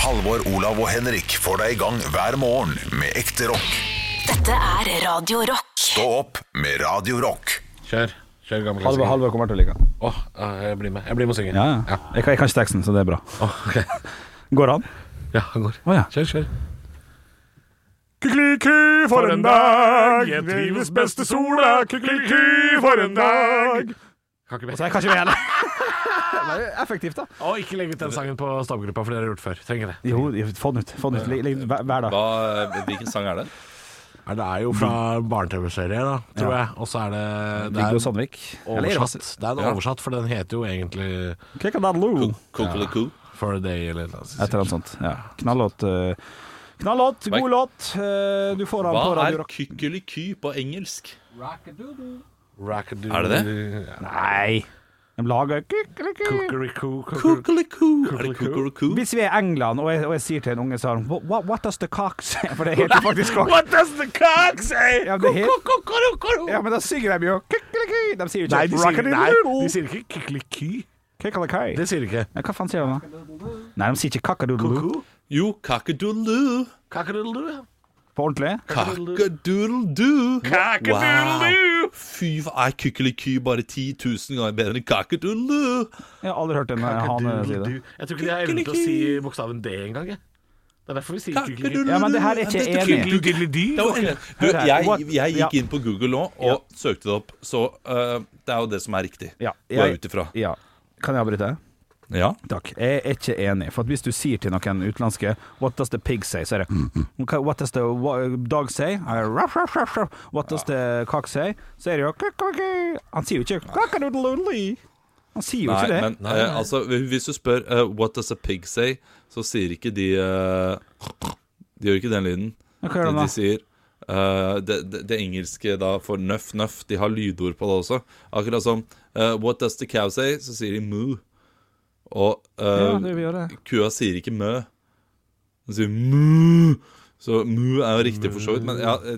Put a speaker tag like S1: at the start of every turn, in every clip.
S1: Halvor, Olav og Henrik får deg i gang hver morgen med ekte rock.
S2: Dette er Radio Rock.
S1: Stå opp med Radio Rock.
S3: Kjør. Kjør gamle
S4: Halvor,
S3: klassiker.
S4: Halvor kommer til å like den.
S3: Åh, ja, jeg blir med. Jeg blir med og synger.
S4: Ja, ja. Jeg, kan, jeg kan ikke teksten, så det er bra.
S3: Åh, ok.
S4: Går det an?
S3: ja han går.
S4: Å, ja.
S3: Kjør, kjør.
S4: Kykeliky
S3: for en dag, jeg trives best i sola. Kykeliky for en dag. Kan ikke
S4: Så
S3: mer.
S4: jeg kan ikke vi heller. Det er effektivt, da.
S3: Og ikke legg ut den sangen på stabgruppa, for det har dere gjort før. Trenger det.
S4: Jo, jo, få den ut. Få den ut. Legg- legg den ut hver- hver dag.
S5: Hva, hvilken sang er det?
S3: Nei, det er jo fra barne-TV-serie, da, tror jeg. Og så er det, det
S4: Viggo
S3: er
S4: Sandvik.
S3: oversatt. Det er en
S5: Ja.
S3: oversatt, for den heter jo egentlig
S4: Kikadadlo.
S5: Kokoliko?
S3: For a Day eller noe sånt.
S4: Et eller annet sånt. Ja. Knallåt. eh, Knallåt, god
S5: Hva-
S4: låt. Eh, Du får den på
S5: Hva
S4: Radio
S5: er
S4: Rock.
S5: kykkeliky på engelsk?
S3: Rackadoodle.
S5: Er det
S4: Nei. De lager kykeliky.
S3: Kukurikoo, kukurikoo.
S5: Kokoliko. Er det kokoliko?
S4: Hvis vi er i England, og jeg, og jeg sier til en unge sånn What, what- what does the cock say? For det heter faktisk cock.
S3: What does the cock say?
S4: Ja, men det er helt-
S3: Kukurikoo.
S4: Ja, men da synger de jo kykeliky. De sier jo
S3: Nei,
S4: ikke
S3: de sier, nei, de
S4: rockadidoodle.
S3: sier ikke kykeliky.
S4: Kykeliky.
S3: Det sier de ikke.
S4: Ja, hva faen sier de da? Nei, de sier ikke kakadoodle.
S5: Jo, kakadoodle.
S3: Kakadoodle.
S4: På ordentlig?
S5: Kakadoodle-doo.
S3: Kakadoodle-doo.
S5: Fy, hva er kykkeliky bare 10 000 ganger bedre enn kakadoodle?
S4: Jeg har aldri hørt en eh, hane si det.
S3: Jeg tror ikke de har evnen til å si bokstaven D engang. jeg. Det er derfor vi sier kykeliky.
S5: Kakadoodle.
S4: Ja, men det her er ikke
S5: Dette
S4: enig.
S5: kykkeliky- Det var- Du,
S4: Hør her. What-
S5: jeg, jeg
S4: Ja.
S5: gikk inn på Google nå og søkte det opp, så eh, det er jo det som er riktig.
S4: Ja,
S5: Går
S4: jeg-
S5: jeg ut ifra.
S4: Ja. Kan jeg avbryte?
S5: Ja.
S4: Takk. Jeg er ikke enig. For at hvis du sier til noen utenlandske 'What does the pig say?', så er det «Hva- 'What does the wa- dog say?' Er, ruff, ruff, ruff, ruff. 'What does the cock say?' Så er det jo «Kukkeliki». Han sier jo ikke «Kakkadoodledoodle». Han sier jo
S5: Nei,
S4: ikke det.
S5: men eh, altså, hvis du spør eh, 'What does a pig say?', så sier ikke de eh, De gjør ikke den lyden.
S4: Hva
S5: De,
S4: gjør de
S5: de
S4: da?
S5: sier eh, det, det, det engelske da for nøff, nøff. De har lydord på det også. Akkurat som eh, 'What does the cow say?', så sier de 'moo'. Og eh,
S4: Ja, det vil gjøre det.
S5: kua sier ikke 'mø'. Den sier 'mu'. Så 'mu' er jo riktig for så vidt, men ja, eh,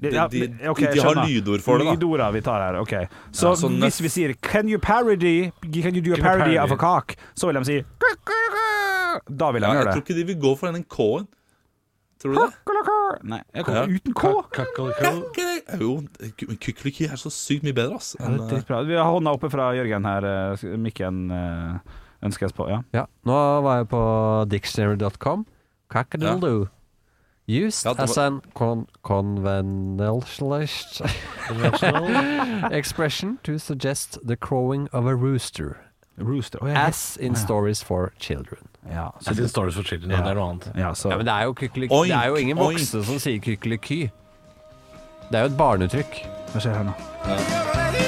S5: de,
S4: Ja,
S5: de,
S4: men- ok, jeg
S5: de har
S4: skjønner.
S5: lydord for det, da.
S4: Lydorda vi tar her, ok. Så,
S5: Ja, så nøff-
S4: hvis vi sier 'Can you parody Can you do a
S3: Can you
S4: parody of a
S3: parody?
S4: cock?' Så vil de si «Kukkeliki». Da vil de
S5: Ja, jeg
S4: gjøre
S5: tror
S4: det.
S5: ikke de vil gå for den K-en. Tror du det?
S4: Kukkeliki. Nei, jeg kom
S5: Ja.
S4: uten K.
S3: Kakaliko.
S5: Jo, kykkeliky er så sykt mye bedre, ass. eh,
S4: Ja, det er dritbra. Vi har hånda oppe fra Jørgen her. eh, Mikken eh, ønskes på. Ja.
S6: Ja, nå var jeg på dictionary.com. Cockadildo. Used
S5: Ja, det var-
S6: as an con conventionalist expression to suggest the crowing of a rooster,
S4: Rooster. Å, ja.
S6: as in stories for children.
S4: Ja, så,
S3: Jeg synes Stories for Children, ja. det er noe annet.
S4: ja, så.
S6: Ja, men det er jo, kykeliky-
S5: Oink,
S6: det er jo ingen
S5: oink.
S6: voksne som sier kykeliky. Det er jo et barneuttrykk.
S4: Hva skjer her nå?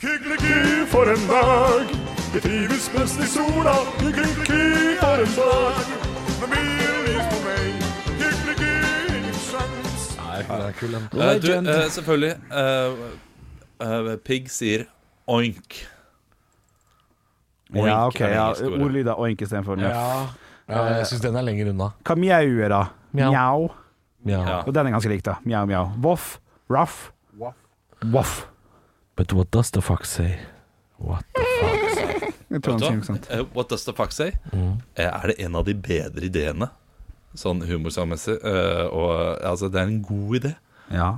S7: Kykkeliky for en dag. Jeg trives best i sola. Kykkeliky for en dag. Med mye lys på meg. Kykkeliky, ingen sjans.
S5: Eh, du, eh, selvfølgelig eh, eh, Pig sier oink. Oink
S4: ja, ok.
S5: er det
S4: Ja,
S5: engelske ordet.
S4: Ordlyder oink istedenfor njøff.
S3: Ja, jeg syns den er lenger unna.
S4: Hva mjau er, da?
S6: Mjau.
S4: Mjau.
S5: Ja.
S4: Og den er ganske lik, da. Mjau, mjau. Voff. Ruff. Voff.
S3: But what does the fuck say? What the fuck say?
S4: Jeg tror han
S5: Vet
S4: sier
S5: du
S4: noe sånt.
S5: hva? Eh, What does the fuck say? Eh, er det en av de bedre ideene? Sånn humorsangmessig. eh, og eh, altså, det er en god idé.
S4: Ja.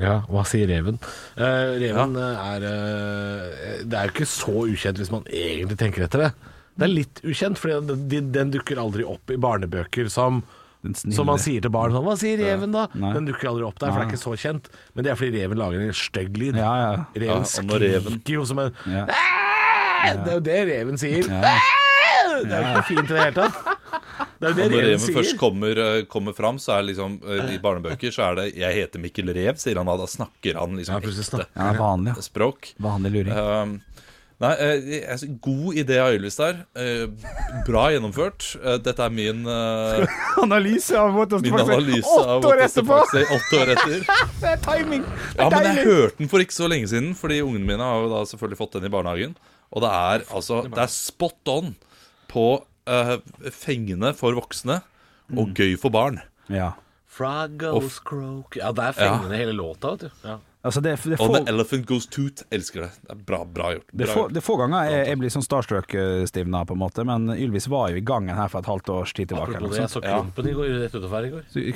S3: Ja, hva sier reven? Eh, reven eh, er eh, Det er jo ikke så ukjent hvis man egentlig tenker etter det. Det er litt ukjent, for den, den dukker aldri opp i barnebøker som
S4: Den snille.
S3: som man sier til barn sånn Hva sier reven, da?
S4: Nei.
S3: Den dukker aldri opp der, for det er ikke så kjent. Men det er fordi reven lager en stygg lyd.
S4: Ja, ja.
S5: Ja,
S3: Reven
S5: og når reven-
S3: skriker jo som en
S4: Ja.
S3: «Æ!» Det er jo det reven sier. «Æ!» Det er jo ikke fint i det hele tatt. Det er jo det
S5: Når
S3: reven
S5: reven
S3: sier.
S5: først kommer, eh, kommer fram, så er det liksom eh, i barnebøker så er det 'Jeg heter Mikkel Rev', sier han da. Da snakker han
S3: Ja,
S5: liksom
S3: plutselig
S5: ekte
S3: snakker-
S4: ja vanlig. ja.
S5: språk.
S4: Vanlig luring.
S5: Um, nei, eh, altså, god idé av Ylvis der. Eh, bra gjennomført. Eh, dette er min, eh,
S4: Analyse av What does the
S5: min
S4: fuck say.
S5: analyse av
S4: Åtte
S5: What
S4: år
S5: Does The
S4: etterpå!
S5: Fox Say åtte år etter.
S4: Det er timing!
S5: Ja, men jeg hørte den for ikke så lenge siden, fordi ungene mine har jo da selvfølgelig fått den i barnehagen. Og det er altså Det er spot on på eh, fengende for voksne og
S4: Mm.
S5: gøy for barn.
S4: Ja.
S3: Frog goes croak Ja, det er fengende hele låta, vet du. Ja.
S4: Altså, det, er- det, er
S5: Og
S4: få,
S5: The Elephant Goes Toot elsker det. Det er Bra, bra gjort.
S4: det,
S5: Bra
S4: er få,
S5: gjort.
S4: det er få ganger jeg, jeg blir sånn starstruck-stivna, på en måte, men Ylvis var jo i gangen her for et halvt års tid tilbake.
S3: Apropos det, jeg så Klumpen i går, rett utenfor her i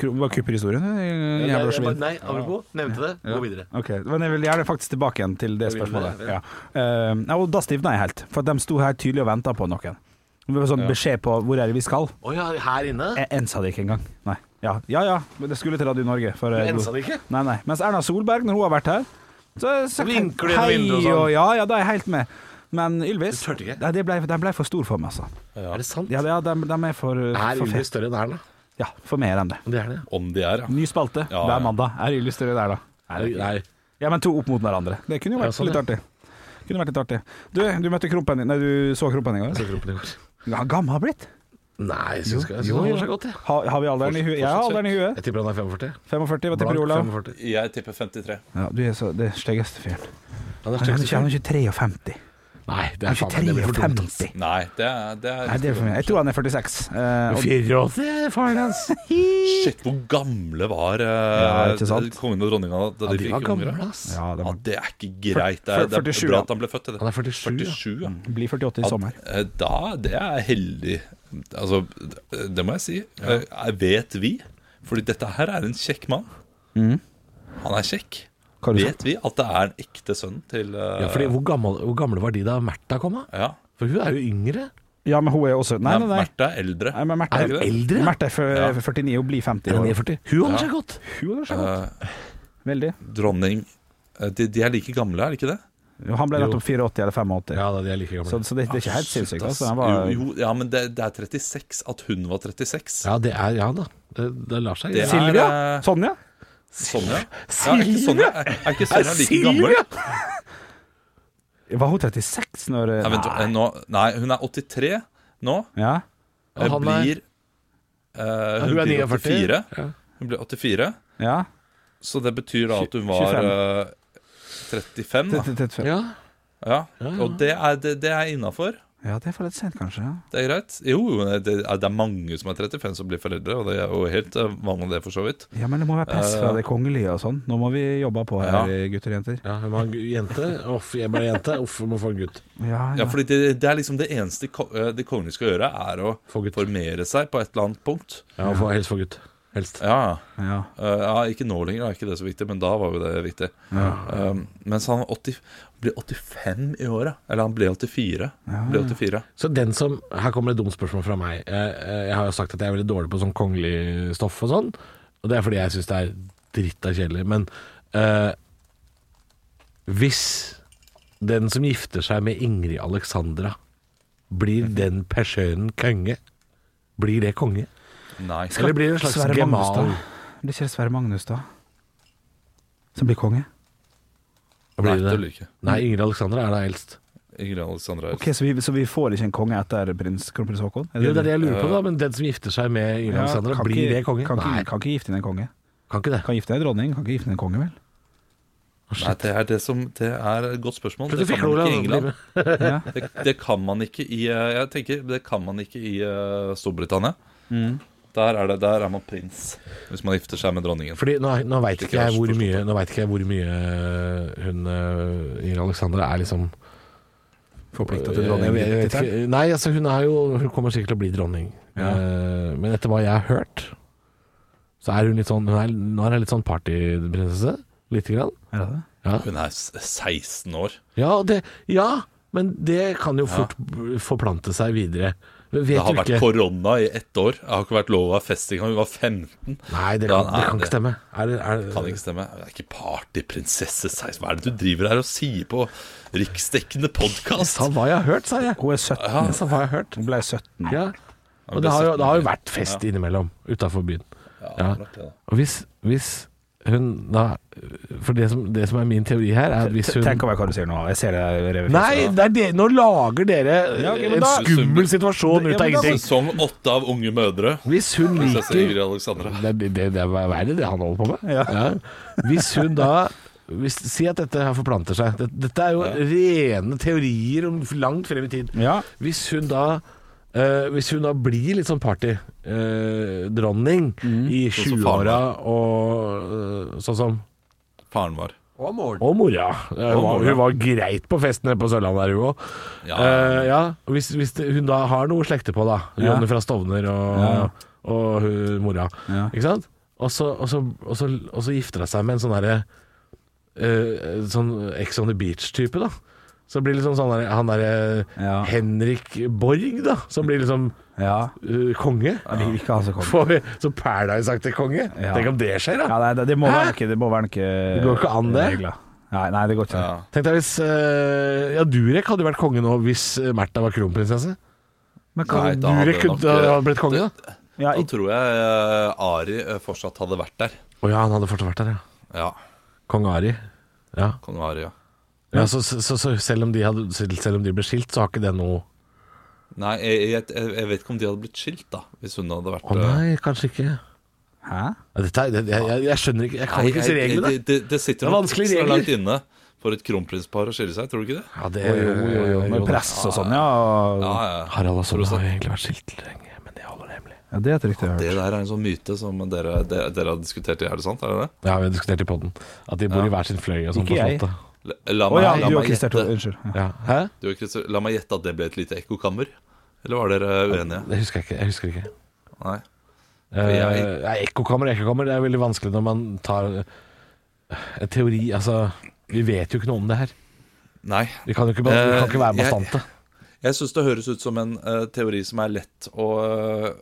S3: går.
S4: Hva kupper historien?
S3: Ja,
S4: Jeg,
S3: nei,
S4: ble
S3: jeg
S4: så
S3: bare-
S4: vidt.
S3: nei, apropos, nevnte det. Gå videre.
S4: Ok, men jeg vil gjerne faktisk tilbake igjen til det
S3: Jeg vil
S4: spørsmålet.
S3: det,
S4: Ja. Eh, ja, og da stivna jeg helt, for at de sto her tydelig og venta på noen. Det var sånn beskjed på hvor er det vi skal.
S3: Å ja, her inne?
S4: Jeg ensa det ikke engang. Nei. Ja, ja, ja, men det skulle til Radio Norge. For, eh,
S3: Du ensa det ikke?
S4: Nei, nei. Mens Erna Solberg, når hun har vært her så, så
S3: Vinker du gjennom vinduet og sånn?
S4: ja, ja, da er jeg helt med. Men Ylvis
S3: Du tørte ikke?
S4: Nei, det ble, den ble for stor for meg, altså.
S3: Er det sant?
S4: Ja, det- ja de, er for,
S3: Er
S4: for,
S3: Ulvi større enn Erna?
S4: fe- ja, for mer enn det.
S3: Det er det.
S5: Om de er, ja.
S4: Ny spalte
S5: Ja, ja.
S4: hver mandag. Er Ylvis større der, da?
S3: Nei, nei.
S4: Ja, men to opp mot hverandre. Det kunne jo vært
S3: Ja, sånn,
S4: litt
S3: ja.
S4: artig. Kunne vært litt artig. Du, du møtte Krompen din Nei, du så Krompen i går?
S3: Så kroppen i går.
S4: Ja, gammel har blitt.
S3: Nei, jeg syns ikke jeg syns
S4: Jo,
S3: han
S4: jo.
S3: holder seg godt, jeg.
S4: Har, har vi alderen i huet? Jeg har alderen i huet.
S3: Jeg tipper han er 45.
S4: 45, hva tipper
S3: Blank
S4: du, Olav?
S3: 45.
S5: Jeg tipper 53.
S4: Ja, du er så det styggeste fyren.
S3: Han er
S4: Han er
S3: styggeste
S4: ikke- han
S3: fyren.
S4: er ikke 53.
S3: Nei, det er
S4: Han er ikke
S3: faen meg det blir for dumt, ass.
S4: 53.
S5: Nei, det er, det er,
S4: Nei, det er for meg. Jeg tror han er 46. Eh, og-
S3: 84 er faren hans.
S5: Shit, hvor gamle var eh,
S4: Ja, ikke sant?
S5: kongen og dronninga da
S3: Ja,
S5: de,
S3: de
S5: fikk
S3: var
S5: unger?
S3: gamle,
S5: da?
S3: ass.
S4: ja, det
S5: Ja,
S4: må
S5: det er ikke greit. Det er, det er
S4: 47,
S5: bra
S4: ja.
S5: at han ble født. Det.
S3: Han er 47, ja.
S5: 47 ja.
S4: bli 48 i Mm. sommer.
S5: Eh, Da, det er heldig Altså, det- det må jeg si Eh, jeg Vet vi Fordi dette her er en kjekk mann Han er kjekk
S4: Hva Mm. har du sagt?
S5: Vet vi at det er en ekte sønn til eh,
S3: Ja, fordi hvor, gammel, hvor gamle var de da Märtha kom? da?
S5: ja.
S3: For hun er jo yngre.
S4: Ja, men hun er også Nei, nei, nei.
S5: Märtha er eldre
S4: nei men Märtha
S3: Er hun eldre?
S4: Märtha er fø-
S5: Ja.
S4: 49 og blir 50 i
S3: Hun er
S4: år.
S3: 49. Hun holder seg godt.
S4: Hun er så godt.
S5: Eh,
S4: Veldig.
S5: Dronning eh, de, de er like gamle, er det ikke det?
S4: Jo, Han ble
S3: Jo.
S4: nettopp 84 eller 85.
S3: Ja Ah, da, de er like
S4: Så,
S3: gamle.
S4: så det, det er ikke helt sinnssykt.
S5: Shit, ass.
S4: Altså. Han var,
S5: jo, jo, ja, men det, det er 36 At hun var 36
S3: Ja, det er Ja da. Det, det lar seg
S5: Det
S3: gjøre.
S5: er-
S4: Silvia?
S5: eh,
S4: Sonja?
S5: Sonja ja, Er ikke Sonja, er, er ikke Sonja like gammel?
S4: Silvia? Var hun 36 når
S5: Nei, vent, eh, nå, nei, hun er 83 nå
S4: Ja.
S5: Jeg
S3: han er-
S5: blir eh, Hun
S3: hun er
S5: blir
S3: 49.
S5: 84. Hun blir 84
S4: ja.
S5: Så det betyr da at hun
S4: Tjue-
S5: var
S4: 25.
S5: eh, 35, da.
S4: 35.
S3: Ja.
S5: Ja.
S3: Ja, ja.
S5: Og det er, det, det er innafor.
S4: Ja, det er for litt sent, kanskje. Ja.
S5: Det er greit. Jo, jo, det er, det er mange som er 35 som blir foreldre, og det er jo helt eh, vanlig, det, for så vidt.
S4: ja, men det må være press fra det kongelige og sånn. Nå må vi jobbe på her, gutter og jenter.
S3: Eh. ja. Hun var en gu- jente. Uff, jeg ble jente. Uff, hun må få en gutt.
S4: Ja,
S5: Ja,
S4: ja.
S5: fordi det, det er liksom det eneste ko- eh, det kongelige skal gjøre, er å
S3: Få gutt.
S5: formere seg på et eller annet punkt.
S3: Ja, få, helst få gutt. Helst.
S5: Ja,
S4: ja.
S5: Eh, ja ikke nå lenger, da er ikke det så viktig, men da var jo det viktig. Um, mens han var 80, ble 85 i året. Eller han ble 84. Ble 84.
S3: Så den som Her kommer et dumt spørsmål fra meg. Eh, eh, Jeg har jo sagt at jeg er veldig dårlig på sånn kongelig stoff og sånn. Og det er fordi jeg syns det er dritta kjedelig. Men eh, hvis den som gifter seg med Ingrid Alexandra, blir den personen konge? Blir det konge?
S5: Nei.
S3: Eller blir det en slags
S4: Sverre Magnus,
S3: gemal?
S4: da? Blir ikke det Sverre Magnus, da? Som blir konge?
S5: Nei,
S3: Blir
S5: det
S3: det?
S5: blir ikke.
S3: Nei, Ingrid Alexandra er da eldst.
S5: Ingrid Alexandra
S4: Ok, så vi, så vi får ikke en konge etter prins kronprins Haakon? Er
S3: Jo, det er det jeg lurer på, da. Men den som gifter seg med Ingrid
S4: Ja,
S3: Alexandra,
S4: kan
S3: blir
S4: ikke-
S3: det konge?
S4: Kan,
S3: Nei,
S4: ikke- kan ikke gifte inn en konge.
S3: kan ikke det.
S4: Kan gifte inn en dronning, kan ikke gifte inn en konge, vel?
S5: Nei, det er, det, som, det er et godt spørsmål. Det
S3: Plutselig
S5: kan
S3: fikk
S5: man
S3: Olav
S5: ikke i England.
S3: bli med.
S4: Ja.
S5: Det, det kan man ikke i eh, Jeg tenker, det kan man ikke i eh, Storbritannia.
S3: Mm.
S5: Der, er det, der er man prins hvis man gifter seg med dronningen.
S3: Fordi nå, nå veit
S5: Ikke
S3: ikke, jeg
S5: helt
S3: hvor
S5: forstått
S3: mye- nå vet ikke jeg hvor mye hun eh, Ingrid Alexandra er liksom
S4: Forplikta
S3: Eh,
S4: til
S3: Jeg vet-
S4: dronning.
S3: jeg vet ikke. Nei, altså hun er jo Hun kommer sikkert til å bli dronning.
S4: Ja.
S3: Eh, Men etter hva jeg har hørt, så er hun litt sånn Hun er, nå er hun litt sånn partyprinsesse. Lite grann.
S4: Er det det?
S3: Ja.
S5: Hun er s- 16 år.
S3: Ja, og det, ja, men det kan jo fort b- forplante seg videre. Men Vet
S5: Det har
S3: du
S5: vært
S3: ikke
S5: korona i ett år. Det har ikke vært lov å ha fest engang. Hun var 15.
S3: Nei, det
S5: Ja,
S3: kan,
S5: nei,
S3: det kan
S5: det-
S3: ikke stemme. Er det, er, det-
S5: Kan ikke stemme. Hun er ikke partyprinsesse 16. Hva er det du driver her og sier på riksdekkende podkast?
S3: Sa hva jeg har hørt, sa jeg.
S4: Hun er 17.
S3: Jeg sa hva jeg har hørt.
S4: Hun ble 17.
S3: Ja. Og det har, jo, det har jo vært fest innimellom utafor byen. Ja. Og hvis, hvis hun da For det som, det som er min teori her, er at hvis hun
S4: Tenk over hva du sier nå. Jeg ser det revet.
S3: Nei, det er det, nå lager dere eh,
S4: Ja, ok, men
S3: en
S5: da-
S3: skummel situasjon ut
S4: Ja,
S3: av
S4: men da-
S3: ingenting.
S5: Sesong åtte av Unge mødre.
S3: Hvis hun
S5: Prinsesse
S3: liker
S5: Ingrid Alexandra.
S3: Det, det, det, det er verre det han holder på med. Ja. Hvis hun da hvis, Si at dette her forplanter seg. Dette, dette er jo rene teorier om langt frem i tid.
S4: Ja.
S3: Hvis hun da eh, hvis hun da blir litt sånn partydronning i
S5: Mm. som faren
S3: 20-åra og eh, sånn som
S5: Faren var.
S6: Og morgen.
S3: Og mora. Eh, var-
S5: Og mora.
S3: Hun var greit på fest nede på Sørlandet der, hun òg.
S5: Ja.
S3: Eh, ja. og Hvis, hvis det, hun da har noe å slekte på, da.
S4: Ja.
S3: Jonny fra Stovner og,
S4: Ja.
S3: og hun, mora.
S4: Ja.
S3: Ikke sant? Og så, og, så, og, så, og så gifter hun seg med en sånn derre eh, Sånn Ex on the Beach-type, da. Så blir det liksom sånn der, han derre
S4: Ja.
S3: Henrik Borg, da. Som blir liksom
S4: Ja.
S3: eh, konge.
S4: Jeg vil ikke ha så kort.
S3: Får vi så Paradise-aktig konge.
S4: Ja.
S3: Tenk om det skjer, da.
S4: Ja, nei, det, det må
S3: Hæ?
S4: være noe Det må være noe
S3: Det går ikke an, det.
S4: regler. Nei, nei, det går ikke.
S5: Ja.
S4: an.
S3: Tenk deg hvis eh, Ja, Durek hadde jo vært konge nå hvis eh, Märtha var kronprinsesse.
S4: Men hva
S5: Nei, da hadde
S3: Durek
S5: det
S3: kunne
S5: nok-
S3: da hadde blitt konge, da.
S4: ja,
S5: Da
S4: i-
S5: tror jeg eh, Ari eh, fortsatt hadde vært der.
S3: Å ja, han hadde fortsatt vært der, ja.
S5: Ja,
S3: Kong Ari. Ja.
S5: kong Ari, ja.
S3: ja så, så, så, så selv, om de hadde, selv selv om de ble skilt, så har ikke det noe
S5: Nei, jeg, jeg, jeg, jeg vet ikke om de hadde blitt skilt, da. Hvis hun hadde vært eh,
S3: Å nei, kanskje ikke. Ja,
S4: Hæ?
S3: dette er, det, jeg, jeg, jeg skjønner ikke Jeg kan ikke disse reglene.
S5: Det, det, det sitter
S3: Det er
S5: nok
S3: vanskelige
S5: ekstra
S3: regler.
S5: langt inne for et kronprinspar å skille seg, tror du ikke det?
S3: Ja, det,
S4: Med press og sånn, ja. og-
S5: Ja, ja. ja.
S3: Harald og Sonja har jo egentlig vært skilt lenge, men de holder det hemmelig.
S4: Ja, det er et rykte jeg har
S5: Det
S4: hørt.
S5: der er en sånn myte som dere, dere, dere har diskutert i, er det sant? Er det det?
S3: Det har vi diskutert i podden. At de bor i hver sin fløy og sånn.
S4: Ikke
S3: på
S4: jeg.
S3: slottet.
S5: La- La
S4: Å ja,
S5: meg, la
S4: du og
S5: meg
S4: Christer Thor.
S5: gjette.
S4: Unnskyld. Ja.
S3: Ja. Hæ?
S5: Du og Christer, la meg gjette at det ble et lite ekkokammer. Eller var dere uenige?
S3: Det husker jeg ikke. Jeg husker ikke.
S5: Nei.
S3: Eh,
S5: jeg-
S3: nei, Ekkokammer, ekkokammer. Det er veldig vanskelig når man tar en teori Altså, vi vet jo ikke noe om det her.
S5: Nei.
S3: Vi kan jo ikke, ba- vi kan ikke
S5: Eh,
S3: være
S5: jeg-
S3: bastante.
S5: Jeg syns det høres ut som en eh, teori som er lett å, eh,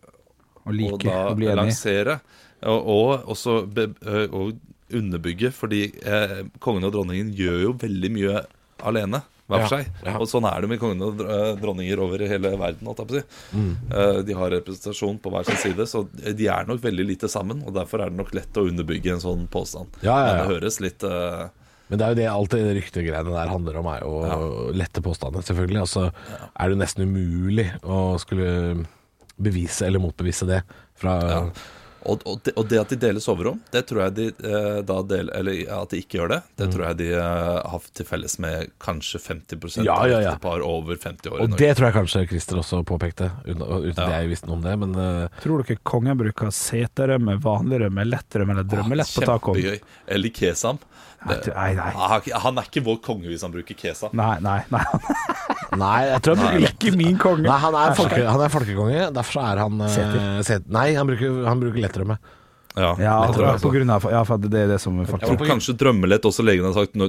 S4: Å like,
S5: å da
S4: å bli enig.
S5: lansere. Og, og også be, eh, og underbygge, fordi eh, kongen og dronningen gjør jo veldig mye alene. Hver for
S3: Ja,
S5: seg.
S3: ja.
S5: Og sånn er det med kongen og dr- eh, dronninger over i hele verden. Holdt jeg på å si.
S3: Mm.
S5: Eh, de har representasjon på hver sin side, så de er nok veldig lite sammen. Og Derfor er det nok lett å underbygge en sånn påstand.
S3: Ja, ja, ja.
S5: Men det høres litt eh,
S3: Men det er jo det alt det ryktegreiene der handler om, er jo lette påstander, selvfølgelig. Og så er det jo nesten umulig å skulle bevise eller motbevise det fra
S5: Og, og, det, og det at de deler soverom, det tror jeg de eh, da del, Eller at de ikke gjør det,
S4: Mm.
S5: det tror jeg de eh, har til felles med kanskje 50
S3: Ja,
S5: av
S3: ja, ja.
S5: ektepar over 50 år. i
S3: Og
S5: Norge.
S3: det tror jeg kanskje Christer også påpekte, uten, uten at jeg visste noe om det. Men eh,
S4: Tror dere kongen bruker seterømme, vanlig rømme, lettrømme eller drømmelett på tacoen?
S5: Kjempegøy. Eller kesam.
S4: Nei, nei, nei.
S5: Han er ikke- han er ikke vår konge hvis han bruker kesam.
S4: Nei, nei, nei.
S3: nei, jeg tror han bruker
S4: Ikke min konge.
S3: Nei, han er, folke, han er folkekonge, derfor så er han eh,
S4: Seter.
S3: set- Nei, han bruker, han bruker lettrømme.
S4: Ja,
S5: det
S4: jeg
S5: tror
S4: tror
S5: jeg
S4: på
S5: også.
S4: grunn av Ja, for det er det som folk
S5: Jeg tror kanskje drømmelett også legen har sagt nå,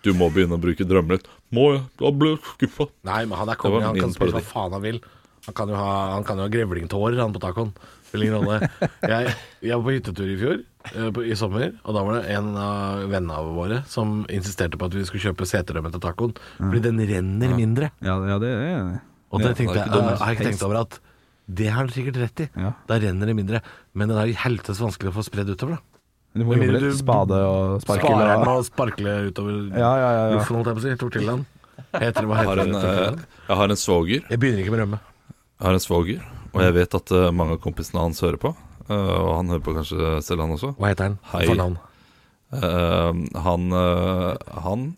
S5: du må begynne å bruke drømmelett. Må jeg? Da ble jeg skuffa.
S3: Nei, men han er konge,
S5: Det var
S3: han kan
S5: min
S3: spille hva
S5: parodi.
S3: faen han vil. Han kan jo ha, han kan jo ha grevlingtårer, han på tacoen. Spiller ingen rolle. Jeg, jeg var på hyttetur i fjor, eh, på, i sommer, og da var det en av vennene våre som insisterte på at vi skulle kjøpe seterømme til tacoen, fordi den renner mindre.
S4: Ja, ja, det er jeg enig i.
S3: Og det
S5: Mm. Ja,
S3: tenkte
S5: det er
S3: jeg,
S5: ikke dumt.
S3: jeg har ikke tenkt over at det har han sikkert rett i.
S4: Ja.
S3: Da renner det mindre. Men den er jo helvetes vanskelig å få spredd utover, da.
S4: Du må
S3: Men
S4: jobbe
S3: vil
S4: litt
S3: du-
S4: spade og sparkel.
S3: Sparer den
S4: Og,
S3: med å sparkle utover
S4: ja, ja, ja, ja.
S3: luften, holdt jeg på å si. Tortillaen. Heter det hva
S5: Jeg har
S3: heter
S5: en,
S3: det?
S5: eh,
S3: Tortillaen?
S5: jeg har en svoger
S3: Jeg begynner ikke med rømme.
S5: Jeg har en svoger, og jeg vet at eh, mange av kompisene hans hører på. eh, og han hører på kanskje selv, han også.
S3: Hva heter den?
S5: Hei.
S3: Fornavn.
S5: Eh, han, eh, han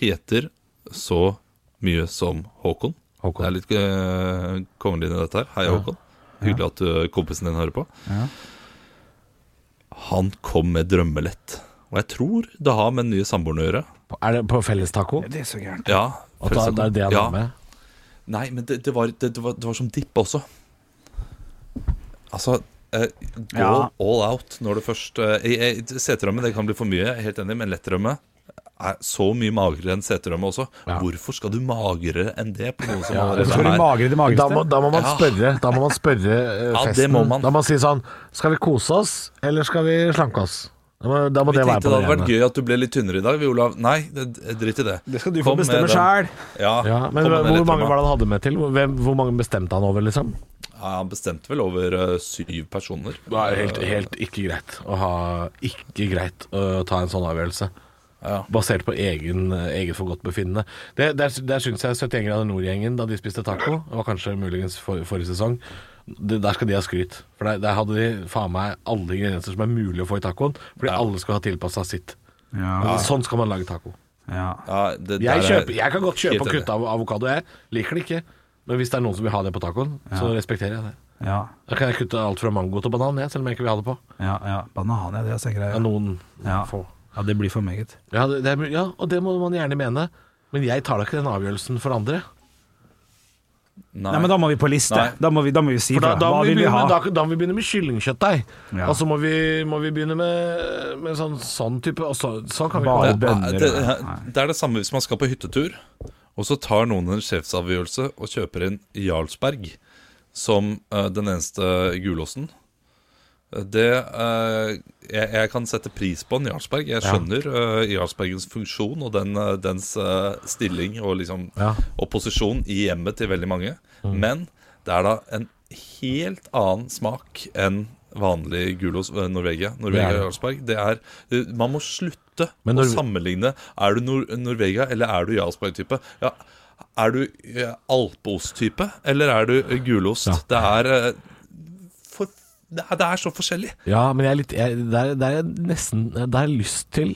S5: heter så mye som Håkon. Det er
S3: Håkon.
S5: litt uh, kongelig i dette her. Hei, Håkon. Hyggelig at eh, kompisen din hører på.
S4: Ja.
S5: Han kom med drømmelett. Og jeg tror det har med den nye samboeren å gjøre.
S3: Er det på fellestaco?
S4: det er så gærent.
S5: Ja,
S3: At da- det er det han
S5: ja.
S3: har med?
S5: Nei, men det, det, var, det, det, var, det var som dipp også. Altså eh, Gå
S4: Ja.
S5: all out når du først eh, jeg- jeg- Seterømme det kan bli for mye, jeg er helt enig, men lettrømme er så mye magrere enn seterømme også.
S3: Ja.
S5: Hvorfor skal du magrere enn det på noe som
S3: Ja,
S5: allerede
S4: Skal du
S5: er
S4: magre det
S3: Da må,
S4: magreste?
S3: da må man
S5: Ja.
S3: spørre, da må man spørre eh,
S5: Ja, det
S3: festen.
S5: må man.
S3: Da må man si sånn Skal vi kose oss, eller skal vi slanke oss? Da må, da må
S5: Vi
S3: det være
S5: tenkte
S3: på
S5: det
S3: det
S5: hadde vært
S3: rene.
S5: gøy at du ble litt tynnere i dag, vi, Olav. Nei, det, dritt i det.
S4: Det skal du få
S5: Kom med
S4: bestemme
S5: den-
S4: sjæl.
S5: Ja,
S3: Ja, men
S5: kom
S3: hvor
S5: med lettrømme.
S3: mange var det han hadde med til? Hvor- Hvem, hvor mange bestemte han over, liksom?
S5: Ja, han bestemte vel over eh, syv personer.
S3: Det er helt, helt ikke greit å ha Ikke greit å ta en sånn avgjørelse.
S5: Ja.
S3: Basert på egen, eget forgodtbefinnende. Det, der der syns jeg 71 grader nord-gjengen, da de spiste taco, det var kanskje muligens for, forrige sesong, det, der skal de ha skryt. For der, der hadde de faen meg alle ingredienser som er mulig å få i tacoen, fordi alle skal ha tilpassa sitt.
S4: Ja,
S3: Sånn skal man lage taco.
S4: ja.
S5: Ja, det, der
S3: Jeg,
S5: er-
S3: kjøper, jeg kan godt kjøpe
S5: Helt
S3: og
S5: enig.
S3: kutte av avokado, jeg. Liker det ikke. Men hvis det er noen som vil ha det på tacoen, så respekterer jeg det.
S4: ja,
S3: Da kan jeg kutte alt fra mango til banan, jeg, selv om jeg ikke vil ha det på.
S4: ja, ja. Banan, ja, det er så
S3: Ja,
S4: greit.
S3: noen
S4: Ja.
S3: få.
S4: Ja, det blir for meget.
S3: Ja, det, det er, ja, og det må man gjerne mene. Men jeg tar da ikke den avgjørelsen for andre.
S4: Nei, men da må vi på liste.
S5: Nei.
S4: Da må vi, da må vi si
S3: For da,
S4: fra.
S3: da, må
S4: Hva
S3: vi
S4: vil vi
S3: begynne,
S4: ha?
S3: med- da, da må vi begynne med kyllingkjøttdeig.
S4: Ja.
S3: Og så må vi, må vi begynne med, med sånn, sånn type og så, Sånn kan vi
S4: Bare
S3: ikke
S5: det,
S3: ha det.
S4: bønner,
S5: det,
S4: ja.
S5: det er det samme hvis man skal på hyttetur, og så tar noen en sjefsavgjørelse og kjøper inn Jarlsberg som eh, den eneste gulosten. Det eh, jeg, jeg kan sette pris på en Jarlsberg. Jeg skjønner eh, Jarlsbergens funksjon og den, eh, dens eh, stilling og liksom
S3: Ja. Mm.
S5: og posisjon i hjemmet til veldig mange. Men det er da en helt annen smak enn vanlig gulost eh, Norvegia. Norvegia
S3: Det er det.
S5: Jarlsberg. Det er, eh, man må slutte
S3: Men
S5: å
S3: Norve-
S5: sammenligne. Er du Nor Norvegia, eller er du Jarlsberg-type? Ja, er du eh, alpeost-type, eller er du eh, gulost? Det, er, eh, for, det, er, det er så forskjellig.
S3: Ja, men jeg er litt jeg, Det er- det er jeg nesten Det er jeg lyst til,